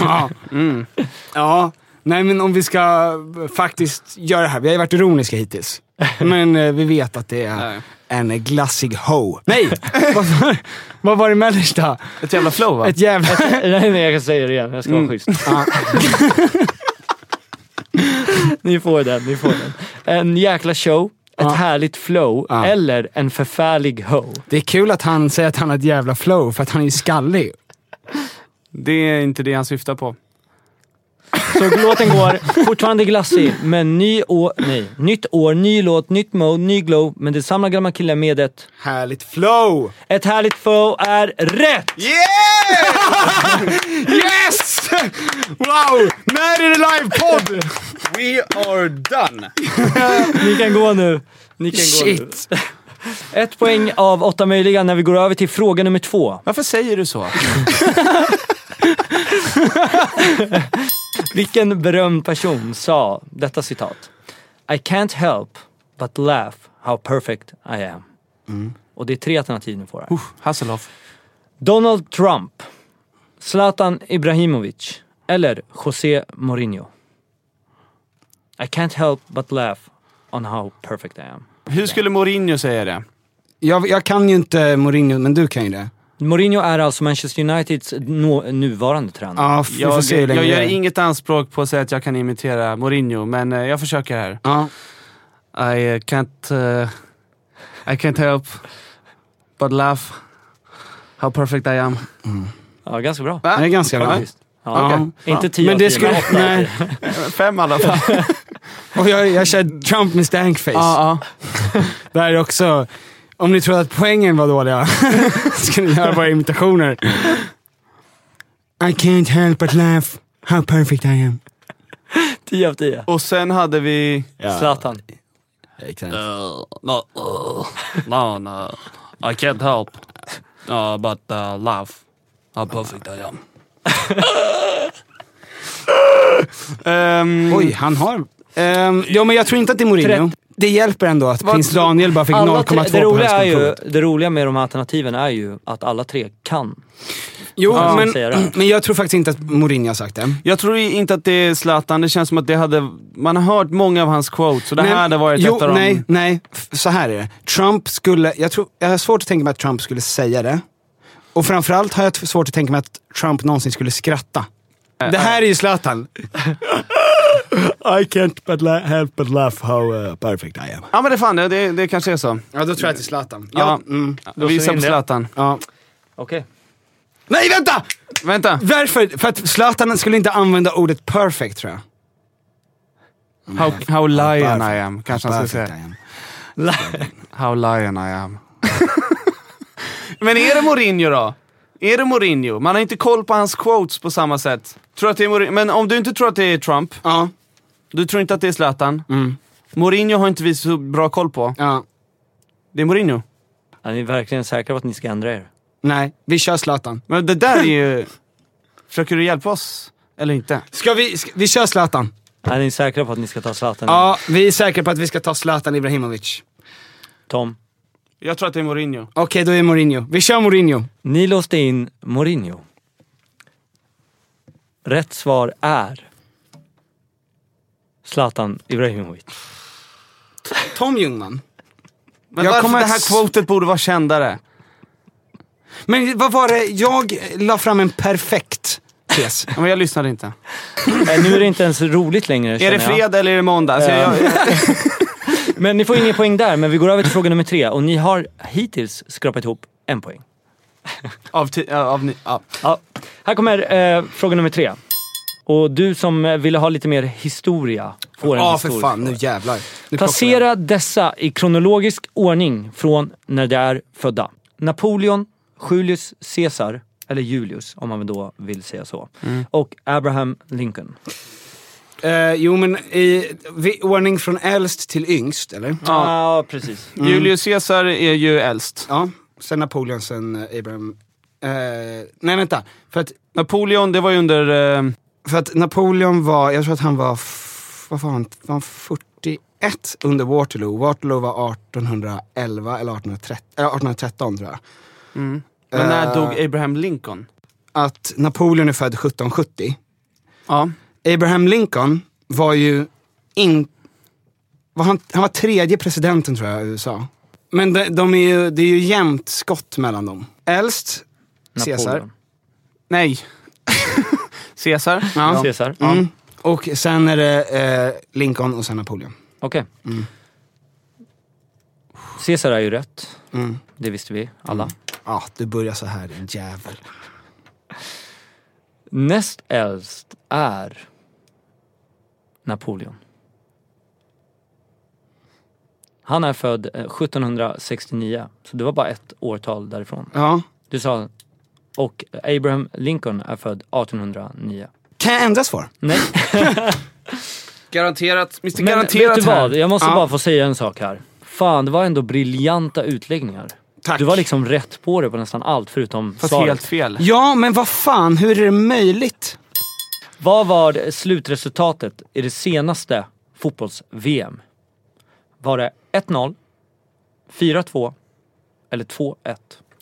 Speaker 2: Ja. Mm. ja. Nej men om vi ska faktiskt göra det här. Vi har ju varit ironiska hittills. Men eh, vi vet att det är
Speaker 3: Nej.
Speaker 2: en glassig ho. Nej! vad, var, vad var det mellersta?
Speaker 3: Ett jävla flow va?
Speaker 2: Ett jävla...
Speaker 1: Nej, men jag kan säga det igen. Jag ska vara
Speaker 2: Mm.
Speaker 1: schysst.
Speaker 2: Ja.
Speaker 1: Ni får den, ni får den. En jäkla show, ett härligt flow,
Speaker 2: Ja.
Speaker 1: eller en förfärlig ho.
Speaker 2: Det är kul att han säger att han har ett jävla flow för att han är ju skallig.
Speaker 3: Det är inte det han syftar på.
Speaker 1: Så låten går, fortfarande glassig, men ny år, nej, nytt år, ny låt, nytt mode, ny glow, men det samlar gamla killar med ett.
Speaker 2: Härligt flow!
Speaker 1: Ett härligt flow är rätt!
Speaker 2: Yeah! yes! Wow! När är det livepodd?
Speaker 6: We are done!
Speaker 1: Ni kan gå nu. Ni kan gå
Speaker 2: Shit!
Speaker 1: nu. Ett poäng av åtta möjliga när vi går över till fråga nummer två.
Speaker 3: Varför säger du så?
Speaker 1: Vilken berömd person sa detta citat? I can't help but laugh how perfect I am.
Speaker 2: Mm.
Speaker 1: Och det är tre alternativ ni får här.
Speaker 3: Hasselhoff.
Speaker 1: Donald Trump, Zlatan Ibrahimovic eller José Mourinho? I can't help but laugh on how perfect I am.
Speaker 3: Hur skulle Mourinho säga det?
Speaker 2: Jag, jag kan ju inte Mourinho, men du kan ju det.
Speaker 1: Mourinho är alltså Manchester Uniteds nå- nuvarande tränare.
Speaker 2: Ja, f- vi får
Speaker 3: Jag,
Speaker 2: se hur länge
Speaker 3: jag gör
Speaker 2: det är.
Speaker 3: inget anspråk på att säga att jag kan imitera Mourinho, men eh, jag försöker här.
Speaker 2: Ja.
Speaker 3: I eh, can't... eh, I can't help but laugh how perfect I am.
Speaker 1: Ja, ganska bra.
Speaker 2: Det är ganska bra.
Speaker 1: Faktiskt. Ja,
Speaker 2: Ja.
Speaker 1: okej. Inte tio
Speaker 2: Men
Speaker 1: av
Speaker 2: det
Speaker 1: tio,
Speaker 2: skulle-
Speaker 1: åtta av
Speaker 2: nej.
Speaker 1: tio.
Speaker 3: Fem i alla fall.
Speaker 2: Och jag, jag kör Trump med stankface.
Speaker 3: ja,
Speaker 2: Det här är också... Om ni trodde att poängen var dåliga, ska ni göra bara imitationer. I can't help but laugh how perfect I am.
Speaker 1: Tio av tio.
Speaker 3: ja. Och sen hade vi...
Speaker 1: Zlatan.
Speaker 2: Exakt.
Speaker 3: Uh, no, uh, no, no. I can't help uh, but uh, laugh how perfect I am. um,
Speaker 2: Oj, han har... Ehm, ja, men jag tror inte att det är Mourinho.
Speaker 1: Trett-
Speaker 2: Mm. Det hjälper ändå att
Speaker 3: Vad-
Speaker 2: prins Daniel bara fick
Speaker 1: Alla
Speaker 2: 0,2
Speaker 1: tre, det,
Speaker 2: på
Speaker 1: roliga är ju,
Speaker 2: högskoleprovet.
Speaker 1: det roliga med de här alternativen är ju att alla tre kan.
Speaker 2: Jo,
Speaker 1: Ja,
Speaker 2: men,
Speaker 1: säger det.
Speaker 2: Mm. men jag tror faktiskt inte att Mourinho har sagt det.
Speaker 3: jag tror inte att det är Zlatan, det känns som att det hade... Man har hört många av hans quotes, så det här hade varit
Speaker 2: jo,
Speaker 3: ett av dem.
Speaker 2: nej, nej. F- Så här är det. Trump skulle... Jag, tror, jag har svårt att tänka mig att Trump skulle säga det. Och framförallt har jag t- svårt att tänka mig att Trump någonsin skulle skratta. Det här är ju Zlatan. Äh, I can't but la- help but laugh how uh, perfect I am.
Speaker 3: Ja men det fan, det, det, det kanske är så.
Speaker 2: Ja, då tror jag att det är Zlatan.
Speaker 3: Ja.
Speaker 2: Ja. Mm,
Speaker 3: Vi gissar på Zlatan.
Speaker 2: ja.
Speaker 1: Okej.
Speaker 2: Nej, vänta!
Speaker 3: Vänta!
Speaker 2: Varför? För att Zlatan skulle inte använda ordet perfect tror jag.
Speaker 3: How, how lion
Speaker 2: perfect.
Speaker 3: I am, kanske han skulle säga.
Speaker 2: I am.
Speaker 3: How lion I am. men är det Mourinho då? Är det Mourinho? Man har inte koll på hans quotes på samma sätt. Tror att det är Mourinho? Men om du inte tror att det är Trump,
Speaker 2: Ja.
Speaker 3: du tror inte att det är Zlatan.
Speaker 2: Mm.
Speaker 3: Mourinho har inte vi så bra koll på.
Speaker 2: ja.
Speaker 3: Det är Mourinho.
Speaker 1: Är ni verkligen säkra på att ni ska ändra er?
Speaker 2: Nej, vi kör Zlatan.
Speaker 3: Men det där är ju... Försöker du hjälpa oss? Eller inte?
Speaker 2: Ska vi, ska, vi kör
Speaker 3: Mm.
Speaker 2: Zlatan.
Speaker 1: Är ni säkra på att ni ska ta Zlatan?
Speaker 2: Ja, vi är säkra på att vi ska ta Zlatan Ibrahimovic.
Speaker 1: Tom?
Speaker 3: Jag tror att det är Mourinho.
Speaker 2: Okej, då är Mourinho. Vi kör Mourinho.
Speaker 1: Ni låste in Mourinho. Rätt svar är Zlatan Ibrahimovic.
Speaker 2: Tom Ljungman.
Speaker 3: Men
Speaker 2: Jag
Speaker 3: varför
Speaker 2: kommer
Speaker 3: det
Speaker 2: att
Speaker 3: här
Speaker 2: s-
Speaker 3: quotet borde vara kändare?
Speaker 2: Men vad var det? Jag la fram en perfekt tes.
Speaker 3: Ja, Men jag lyssnade inte.
Speaker 1: Eh, Nu är det inte ens roligt längre
Speaker 3: Är
Speaker 1: känner
Speaker 3: det
Speaker 1: jag.
Speaker 3: fredag eller är det måndag? Alltså, jag,
Speaker 2: Eh.
Speaker 3: jag,
Speaker 1: Men ni får ingen poäng där, men vi går över till fråga nummer tre och ni har hittills skrapat ihop en poäng.
Speaker 3: av, ti- ja, av, ni- ja.
Speaker 1: Ja. Här kommer eh, fråga nummer tre. Och du som eh, ville ha lite mer historia får en
Speaker 2: Ja, för
Speaker 1: historia.
Speaker 2: fan. Nu jävlar. Nu plockar
Speaker 1: Placera dessa i kronologisk ordning från när de är födda. Napoleon, Julius Caesar, eller Julius om man väl då vill säga så.
Speaker 2: Mm.
Speaker 1: Och Abraham Lincoln.
Speaker 2: jag. Eh, jo, men i vi, ordning från äldst till yngst, eller?
Speaker 1: Ja, precis.
Speaker 3: Julius Caesar är ju äldst.
Speaker 2: Ja. Sen Napoleon, sen eh, Abraham. Eh, nej, vänta. För att,
Speaker 3: Napoleon, det var ju under... Eh,
Speaker 2: för att Napoleon var, jag tror att han var, f- vad fan, var han 41 under Waterloo. Waterloo var 1811 eller 1813, eller 1813 tror jag.
Speaker 3: men när
Speaker 2: Eh.
Speaker 3: dog Abraham Lincoln?
Speaker 2: Att Napoleon är född 1770.
Speaker 3: Ja.
Speaker 2: Abraham Lincoln var ju in, var han, han var tredje presidenten tror jag i USA. Men de, de är ju, det är ju jämnt skott mellan dem. Äldst, Caesar.
Speaker 1: Napoleon.
Speaker 3: Nej. Caesar?
Speaker 2: Ja.
Speaker 1: Caesar.
Speaker 2: Mm. Och sen är det eh, Lincoln och sen Napoleon.
Speaker 1: Okej.
Speaker 2: Mm.
Speaker 1: Caesar är ju rätt.
Speaker 2: Mm.
Speaker 1: Det visste vi alla.
Speaker 2: Ja, du börjar så här din jävel.
Speaker 1: Näst äldst är Napoleon. Han är född eh, 1769, så det var bara ett årtal därifrån.
Speaker 2: Ja.
Speaker 1: Du sa, och Abraham Lincoln är född 1809.
Speaker 2: Kan jag ändra svar?
Speaker 1: Nej,
Speaker 3: Garanterat. Mr
Speaker 1: men
Speaker 3: Garanterat
Speaker 1: vet du
Speaker 3: här.
Speaker 1: vad? Jag måste
Speaker 2: Ja.
Speaker 1: bara få säga en sak här. Fan, det var ändå briljanta utläggningar.
Speaker 2: Tack.
Speaker 1: Du var liksom rätt på det på nästan allt förutom
Speaker 3: Fast
Speaker 1: svaret.
Speaker 3: helt fel.
Speaker 2: Ja, men vad fan, hur är det möjligt?
Speaker 1: Vad var det- slutresultatet i det senaste fotbolls-VM? Var det 1-0, 4-2 eller 2-1?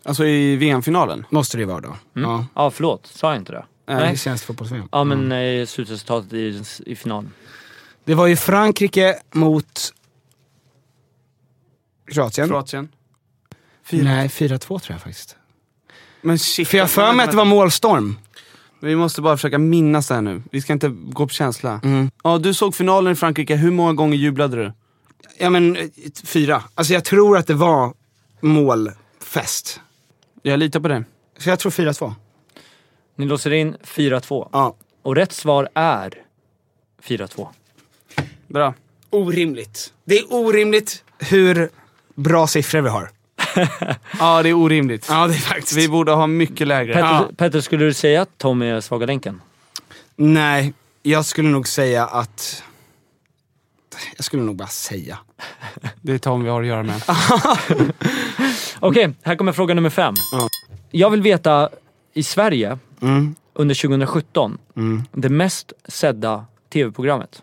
Speaker 3: Alltså i VM-finalen.
Speaker 2: Måste det ju vara då. Ja.
Speaker 1: Ja, förlåt. Sa jag inte det?
Speaker 2: Mm. Nej.
Speaker 1: Nej.
Speaker 2: Det känns fotbolls-VM.
Speaker 1: Ja, men eh, slutresultatet i, i finalen.
Speaker 2: Det var ju Frankrike mot Kroatien.
Speaker 3: Kroatien. Fyra.
Speaker 2: Nej, 4-2 tror jag faktiskt.
Speaker 3: Men shit.
Speaker 2: För jag har för mig att det var målstorm.
Speaker 3: Vi måste bara försöka minnas det här nu. Vi ska inte gå på känsla.
Speaker 2: Mm.
Speaker 3: Ja, du såg finalen i Frankrike. Hur många gånger jublade du?
Speaker 2: Ja men, eh, fyra. Alltså jag tror att det var målfest.
Speaker 3: Jag litar på dig.
Speaker 2: Så jag tror 4-2.
Speaker 1: Ni låser in 4-2.
Speaker 2: Ja.
Speaker 1: Och rätt svar är 4-2.
Speaker 3: Bra.
Speaker 2: Orimligt. Det är orimligt hur bra siffror vi har.
Speaker 3: Ja, det är orimligt.
Speaker 2: Ja, det är faktiskt...
Speaker 3: Vi borde ha mycket lägre.
Speaker 1: Petter,
Speaker 2: Ja.
Speaker 1: Petter, skulle du säga att Tom är svaga länken?
Speaker 2: Nej, jag skulle nog säga att... Jag skulle nog bara säga.
Speaker 3: Det är Tom vi har att göra med.
Speaker 1: Okej, här kommer fråga nummer fem. Jag vill veta, i Sverige,
Speaker 2: Mm.
Speaker 1: under 2017, det mest sedda tv-programmet.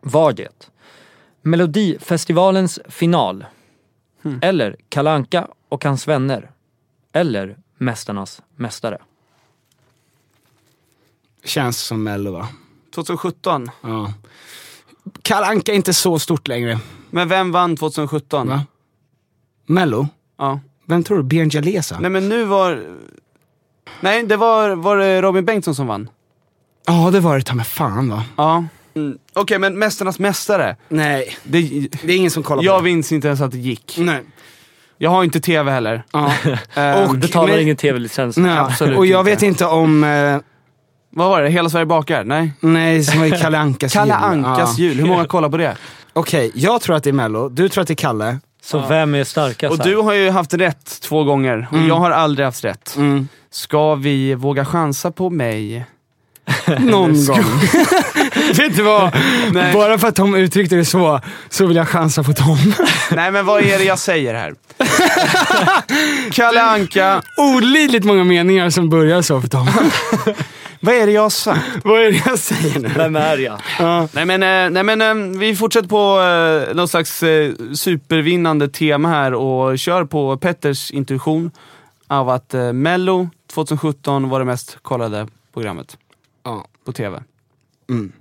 Speaker 1: Var det Melodifestivalens final?
Speaker 2: Hmm.
Speaker 1: Eller Kalanka och hans vänner? Eller Mästarnas mästare?
Speaker 2: Känns som Mello va?
Speaker 3: 2017.
Speaker 2: Ja. Kalle Anka är inte så stort längre.
Speaker 3: Men vem vann 2017?
Speaker 2: Va? Mello?
Speaker 3: Ja.
Speaker 2: Vem tror du? Björn Jalesa?
Speaker 3: Nej men nu var... Nej, det var, var det Robin Bengtsson som vann.
Speaker 2: Ja, det var det ta mig fan va?
Speaker 3: Ja. Mm. Okej, men Mästarnas Mästare.
Speaker 2: Nej,
Speaker 3: Det,
Speaker 2: det är ingen som kollar
Speaker 3: jag
Speaker 2: på det. Mm.
Speaker 3: minns inte ens att det gick.
Speaker 2: Nej.
Speaker 3: Jag har inte tv heller.
Speaker 2: Ja.
Speaker 3: Ehm,
Speaker 2: Och-
Speaker 1: Betalar
Speaker 2: men-
Speaker 1: ingen tv-licens.
Speaker 2: Nej.
Speaker 3: Absolut
Speaker 2: och jag
Speaker 3: inte.
Speaker 2: vet inte om... Eh,
Speaker 3: vad var det? Hela Sverige bakar? Nej.
Speaker 2: nej, som var ju Kalle Ankas
Speaker 3: Kalle
Speaker 2: jul.
Speaker 3: Ankas
Speaker 2: Ja.
Speaker 3: jul. Ah. Hur många kollar på det?
Speaker 2: Okej, jag tror att det är Mello, du tror att det är Kalle.
Speaker 1: Så vem är starkast
Speaker 3: Och
Speaker 1: här?
Speaker 3: du har ju haft rätt två gånger. Och jag har aldrig haft rätt.
Speaker 2: Mm.
Speaker 3: Ska vi våga chansa på mig?
Speaker 2: Någon gång. vet du vad?
Speaker 3: Nej.
Speaker 2: Bara för att Tom uttryckte det så, så vill jag chansa på Tom.
Speaker 3: Nej men vad är det jag säger här? Kalle Anka.
Speaker 2: Olidligt många meningar som börjar så för Tom.
Speaker 3: Vad är det jag har sagt?
Speaker 2: Vad är det jag säger nu?
Speaker 1: Vem är jag?
Speaker 2: Ja.
Speaker 3: Nej men, eh, nej, men eh, vi fortsätter på eh, någon slags eh, supervinnande tema här och kör på Petters intuition av att eh, Mello 2017 var det mest kollade programmet
Speaker 2: Ja.
Speaker 3: på TV.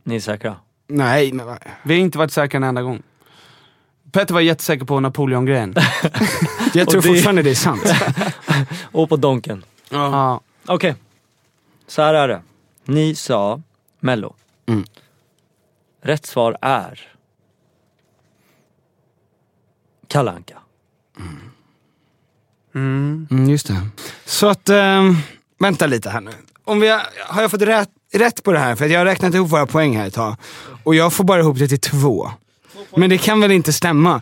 Speaker 1: Ni är säkra?
Speaker 2: Nej, men vad-
Speaker 3: Vi har inte varit säkra en enda gång. Petter var jättesäker på Napoleon-grejen.
Speaker 2: jag tror
Speaker 1: det-
Speaker 2: fortfarande det är sant.
Speaker 1: Och på Donken.
Speaker 3: ja.
Speaker 1: Okej. Så här är det. Ni sa Mello.
Speaker 2: Mm.
Speaker 1: Rätt svar är... Kalle Anka.
Speaker 2: Mm, just det. Så att, ehm, vänta lite här nu. Om vi har, har jag fått rätt, rätt på det här? För att jag har räknat ihop våra poäng här ett tag. Och jag får bara ihop det till två. Men det kan väl inte stämma?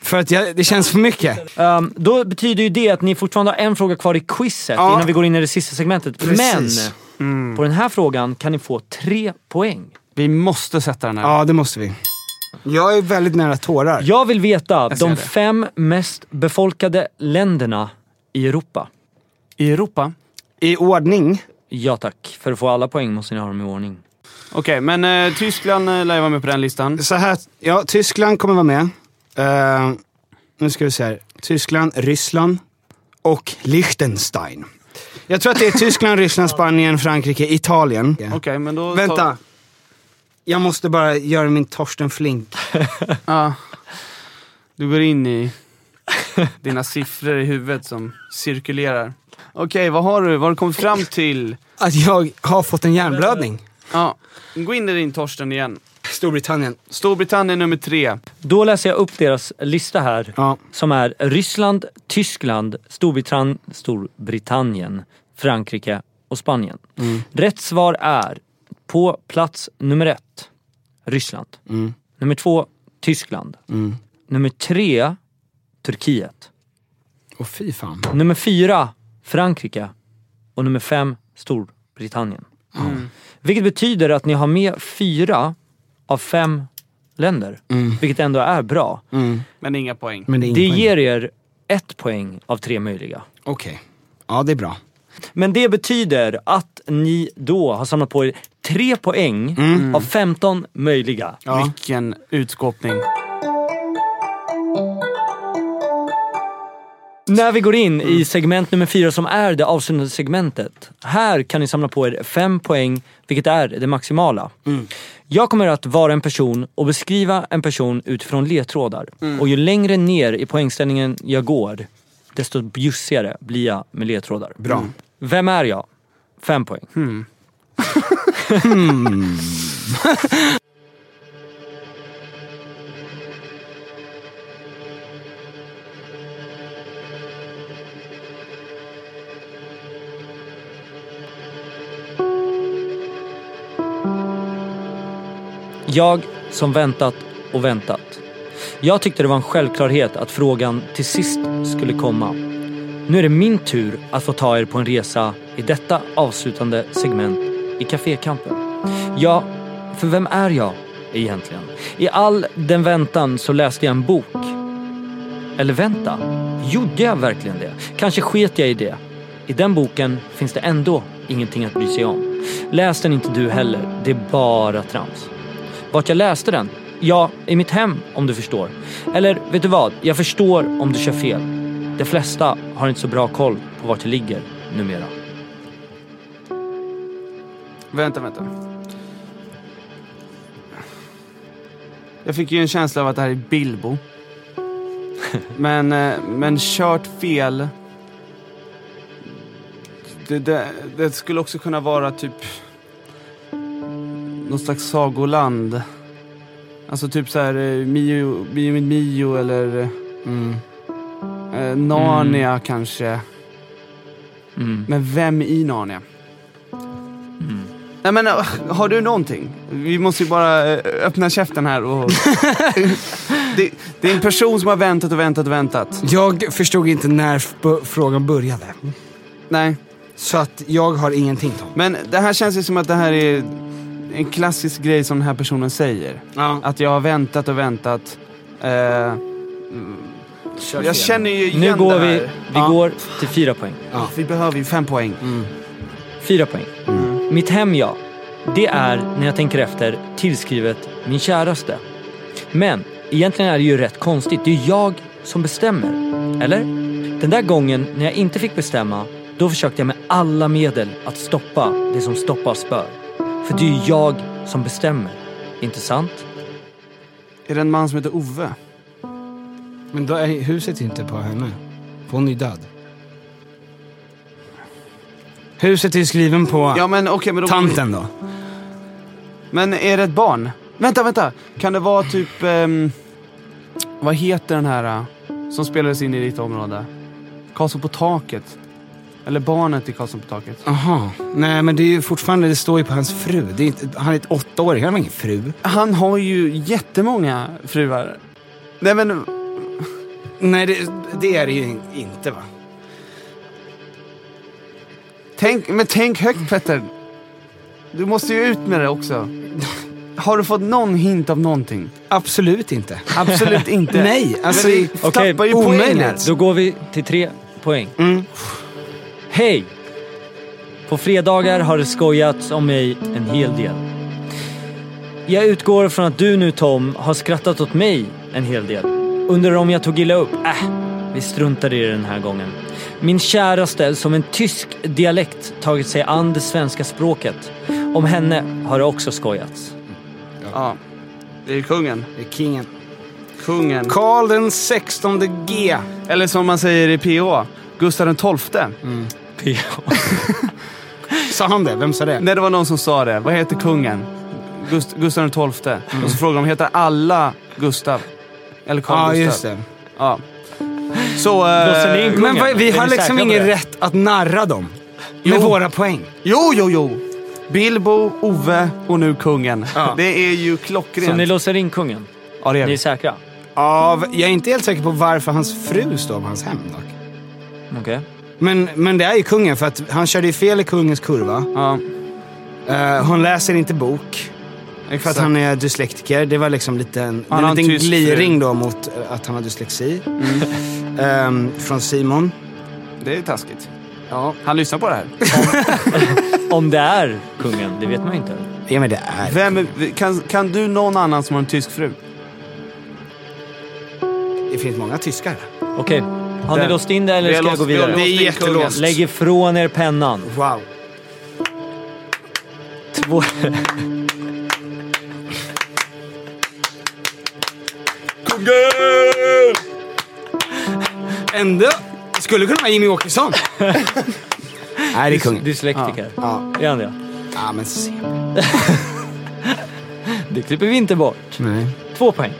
Speaker 2: För att jag, det känns för mycket.
Speaker 1: Ehm, då betyder ju det att ni fortfarande har en fråga kvar i quizet
Speaker 2: Ja.
Speaker 1: innan vi går in i det sista segmentet.
Speaker 2: Precis. Mm.
Speaker 1: Men på den här frågan kan ni få tre poäng.
Speaker 3: Vi måste sätta den här.
Speaker 2: Ja, det måste vi. Jag är väldigt nära tårar.
Speaker 1: Jag vill veta
Speaker 3: ser
Speaker 1: de
Speaker 3: det.
Speaker 1: fem mest befolkade länderna i Europa.
Speaker 3: I Europa?
Speaker 2: I ordning.
Speaker 1: Ja tack. För att få alla poäng måste ni ha dem i ordning.
Speaker 3: Okej, men eh, Tyskland eh, lär ju vara med på den listan.
Speaker 2: Så här, ja, Tyskland kommer vara med. Eh, nu ska vi se här. Tyskland, Ryssland och Liechtenstein. Jag tror att det är Tyskland, Ryssland, Spanien, Frankrike, Italien.
Speaker 3: Okej, men då...
Speaker 2: Vänta. Jag måste bara göra min Torsten Flink.
Speaker 3: Ja. Du går in i dina siffror i huvudet som cirkulerar. Okej, vad har du? Vad har du kommit fram till?
Speaker 2: Att jag har fått en hjärnblödning.
Speaker 3: Ja, gå in i din Torsten igen.
Speaker 2: Storbritannien.
Speaker 3: Storbritannien nummer tre.
Speaker 1: Då läser jag upp deras lista här.
Speaker 2: Ja.
Speaker 1: Som är Ryssland, Tyskland, Storbritannien, Storbritannien Frankrike och Spanien. Rätt svar är på plats nummer ett, Ryssland. Nummer två, Tyskland. Nummer tre, Turkiet.
Speaker 2: Åh fy fan.
Speaker 1: Nummer fyra, Frankrike. Och nummer fem, Storbritannien. Vilket betyder att ni har med fyra av fem länder. Vilket ändå är bra.
Speaker 3: Men inga poäng.
Speaker 2: Men det är
Speaker 1: Det
Speaker 2: ingen poäng.
Speaker 1: ger er ett poäng av tre möjliga.
Speaker 2: Okej. Ja, det är bra.
Speaker 1: Men det betyder att ni då har samlat på er tre poäng av 15 möjliga.
Speaker 3: Vilken utskåpning.
Speaker 1: När vi går in i segment nummer fyra som är det avslutande segmentet. Här kan ni samla på er fem poäng, vilket är det maximala. Jag kommer att vara en person och beskriva en person utifrån ledtrådar. Och ju längre ner i poängställningen jag går, desto bjussigare blir jag med ledtrådar.
Speaker 2: Bra.
Speaker 1: Vem är jag? Fem poäng. Jag som väntat och väntat. Jag tyckte det var en självklarhet att frågan till sist skulle komma. Nu är det min tur att få ta er på en resa i detta avslutande segment i Cafékampen. Ja, för vem är jag egentligen? I all den väntan så läste jag en bok. Eller vänta, gjorde jag verkligen det? Kanske sket jag i det. I den boken finns det ändå ingenting att bry sig om. Läs den inte du heller, det är bara trams. Vart jag läste den? Ja, i mitt hem om du förstår. Eller vet du vad? Jag förstår om du kör fel. De flesta har inte så bra koll på vart det ligger numera.
Speaker 3: Vänta, vänta. Jag fick ju en känsla av att det här är Bilbo. Men, eh, men kört fel. Det, det, det skulle också kunna vara typ någon slags sagoland. Alltså typ så här eh, Mio, Mio, min Mio eller eh, Narnia kanske.
Speaker 1: Mm.
Speaker 3: Men vem i Narnia? Nej men äh, har du någonting? Vi måste ju bara äh, öppna käften här och... det, det är en person som har väntat och väntat och väntat.
Speaker 2: Jag förstod inte när f- b- frågan började.
Speaker 3: Nej,
Speaker 2: Så att jag har ingenting Tom.
Speaker 3: men det här känns ju som att det här är en klassisk grej som den här personen säger.
Speaker 2: Ja.
Speaker 3: Att jag har väntat och väntat. Eh,
Speaker 2: Kör
Speaker 3: Jag känner ju igen
Speaker 1: Nu går
Speaker 3: det
Speaker 1: vi,
Speaker 3: här.
Speaker 1: vi
Speaker 2: Ja.
Speaker 1: går till fyra poäng.
Speaker 2: Ja.
Speaker 3: Vi behöver ju fem poäng.
Speaker 1: Fyra poäng. Mitt hem, ja. Det är, när jag tänker efter, tillskrivet min käraste. Men egentligen är det ju rätt konstigt. Det är ju jag som bestämmer. Eller? Den där gången när jag inte fick bestämma, då försökte jag med alla medel att stoppa det som stoppas bör. För det är ju jag som bestämmer. Inte sant?
Speaker 3: Är det en man som heter Ove?
Speaker 2: Men då är huset inte på henne. För hon är ju död. Huset är ju skriven på
Speaker 3: Ja men okej, men då...
Speaker 2: tanten då.
Speaker 3: Men är det ett barn? Vänta, vänta! Kan det vara typ... ehm, vad heter den här eh, som spelades in i ditt område? Karlsson på taket? Eller barnet i Karlsson på taket?
Speaker 2: Aha. Nej men det är ju fortfarande, det står ju på hans fru. Det är inte, han är ett åttaåring, han har ingen fru.
Speaker 3: Han har ju jättemånga fruar. Nej men...
Speaker 2: Nej det, det är det ju inte va?
Speaker 3: Tänk, men tänk högt Petter. Du måste ju ut med det också. Har du fått någon hint av någonting?
Speaker 2: Absolut inte.
Speaker 3: Absolut inte.
Speaker 2: Nej, alltså...
Speaker 3: Men vi
Speaker 1: Okej,
Speaker 3: tappar ju poäng här.
Speaker 2: omöjligt.
Speaker 1: Då går vi till tre poäng.
Speaker 2: Mm.
Speaker 1: Hej! På fredagar har det skojats om mig en hel del. Jag utgår från att du nu Tom har skrattat åt mig en hel del. Undrar om jag tog illa upp? Äh, vi struntar i det den här gången. Min käraste som en tysk dialekt tagit sig an det svenska språket. Om henne har det också skojats.
Speaker 3: Ja. Det är ju kungen.
Speaker 2: Det är kingen.
Speaker 3: Kungen.
Speaker 2: Karl den 16 G.
Speaker 3: Eller som man säger i PO, Gustav den tolfte.
Speaker 2: Sa han det? Vem sa det?
Speaker 3: Nej, det var någon som sa det. Vad heter kungen? Gust- Gustav den tolfte. Och så frågade de, heter alla Gustav? Eller
Speaker 2: Ja,
Speaker 3: Carl Gustav?
Speaker 2: just det.
Speaker 3: Ja. Så...
Speaker 1: Blåser ni in
Speaker 3: Eh,
Speaker 1: kungen?
Speaker 2: Men vad, vi
Speaker 1: Är
Speaker 2: har
Speaker 1: ni
Speaker 2: liksom
Speaker 1: säkra på
Speaker 2: ingen
Speaker 1: det?
Speaker 2: rätt att narra dem.
Speaker 3: Jo.
Speaker 2: Med våra poäng.
Speaker 3: jo, jo, jo! Bilbo, Ove och nu kungen.
Speaker 2: Ja.
Speaker 3: Det är ju
Speaker 1: Så ni
Speaker 3: klockrent.
Speaker 1: låser in kungen?
Speaker 3: Ja, det
Speaker 1: Ni
Speaker 3: är
Speaker 1: är
Speaker 3: vi.
Speaker 1: säkra?
Speaker 2: Av, jag är inte helt säker på varför hans fru står på hans hem dock.
Speaker 1: Okej.
Speaker 2: Men, men det är ju kungen för att han körde ju fel i kungens kurva.
Speaker 3: Ja,
Speaker 2: Eh, hon läser inte bok. För att
Speaker 3: exakt.
Speaker 2: han är dyslektiker. Det var liksom lite en,
Speaker 3: Han
Speaker 2: en
Speaker 3: har en
Speaker 2: liten
Speaker 3: tysk
Speaker 2: gliring då mot eh, att han har dyslexi. Ehm, från Simon.
Speaker 3: Det är taskigt.
Speaker 2: Ja.
Speaker 3: Han lyssnar på det här.
Speaker 1: Om det är kungen, det vet man ju inte.
Speaker 2: ja men det är...
Speaker 3: Vem, kan, kan du någon annan som har en tysk fru?
Speaker 2: Det finns många tyskar.
Speaker 1: Okej, har ni
Speaker 3: Där.
Speaker 1: låst in det eller
Speaker 3: Vi
Speaker 1: ska
Speaker 3: har
Speaker 1: jag gå
Speaker 3: låst- vi har
Speaker 1: vidare?
Speaker 3: låst in
Speaker 2: Det är
Speaker 3: kungen.
Speaker 2: jättelåst.
Speaker 1: Lägg ifrån er pennan.
Speaker 2: Wow.
Speaker 1: Två...
Speaker 2: Ändå skulle kunna vara Jimmy Åkesson. Nej, det är kungen.
Speaker 1: Dyslektiker.
Speaker 2: Ja,
Speaker 1: Är han det?
Speaker 2: ja men se.
Speaker 1: Det klipper vi inte bort.
Speaker 2: Nej.
Speaker 1: Två poäng.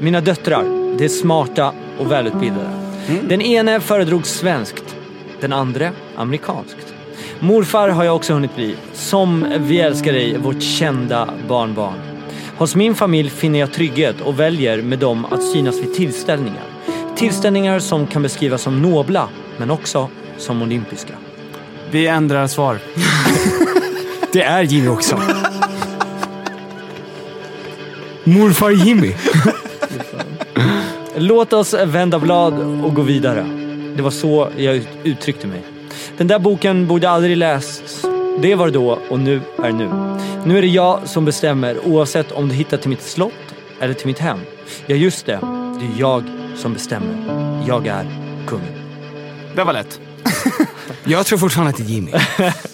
Speaker 1: Mina döttrar, de är smarta och välutbildade.
Speaker 2: Mm.
Speaker 1: Den ene föredrog svenskt, den andra amerikanskt. Morfar har jag också hunnit bli, som Vi älskar dig, vårt kända barnbarn. Hos min familj finner jag trygghet och väljer med dem att synas vid tillställningar. Tillställningar som kan beskrivas som nobla, men också som olympiska.
Speaker 3: Vi ändrar svar.
Speaker 2: Det är Jimmy Åkesson. Morfar Jimmy.
Speaker 1: Låt oss vända blad och gå vidare. Det var så jag ut- uttryckte mig. Den där boken borde aldrig lästs. Det var då och nu är nu. Nu är det jag som bestämmer oavsett om du hittar till mitt slott eller till mitt hem. Ja, just det. Det är jag som bestämmer. Jag är kungen.
Speaker 3: Det var lätt.
Speaker 2: Jag tror fortfarande att det är Jimmy.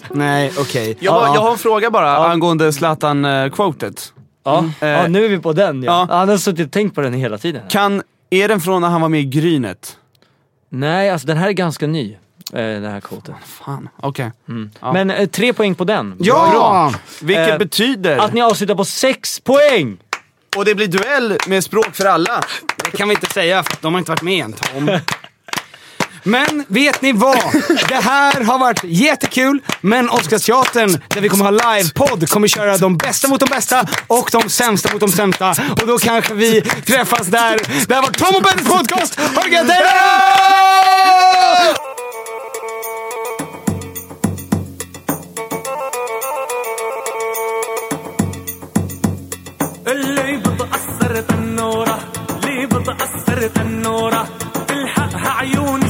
Speaker 2: Nej, okej.
Speaker 3: Jag, har-
Speaker 2: Ja.
Speaker 3: jag har en fråga bara angående eh, Zlatan-quotet.
Speaker 1: Ja, ja
Speaker 3: Eh,
Speaker 1: nu är vi på den ja.
Speaker 3: ja.
Speaker 1: Han har suttit och tänkt på den hela tiden.
Speaker 3: Kan, är den från när han var med i Grynet?
Speaker 1: Nej, alltså den här är ganska ny. eh, Den här kvoten.
Speaker 3: Fan, okej. Ja.
Speaker 1: Men eh, tre poäng på den.
Speaker 2: Ja!
Speaker 3: Vilket
Speaker 1: Eh,
Speaker 3: betyder...
Speaker 1: Att ni avslutar på sex poäng!
Speaker 3: Och det blir duell med språk för alla.
Speaker 2: Det kan vi inte säga för de har inte varit med än Tom. Men vet ni vad? Det här har varit jättekul, men Oscarsteatern där vi kommer ha livepodd kommer köra de bästa mot de bästa och de sämsta mot de sämsta. Och då kanske vi träffas där. Det här var Tom och Bennys podcast. Ha det gött! Hej då!
Speaker 7: اللي بتأثر تنورة اللي بتأثر تنورة اللي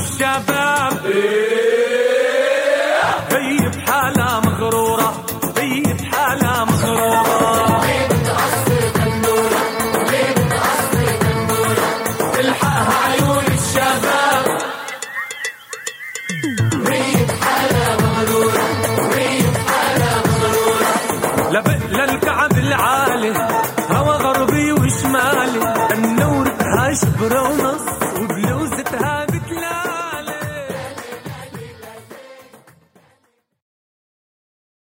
Speaker 7: but oh my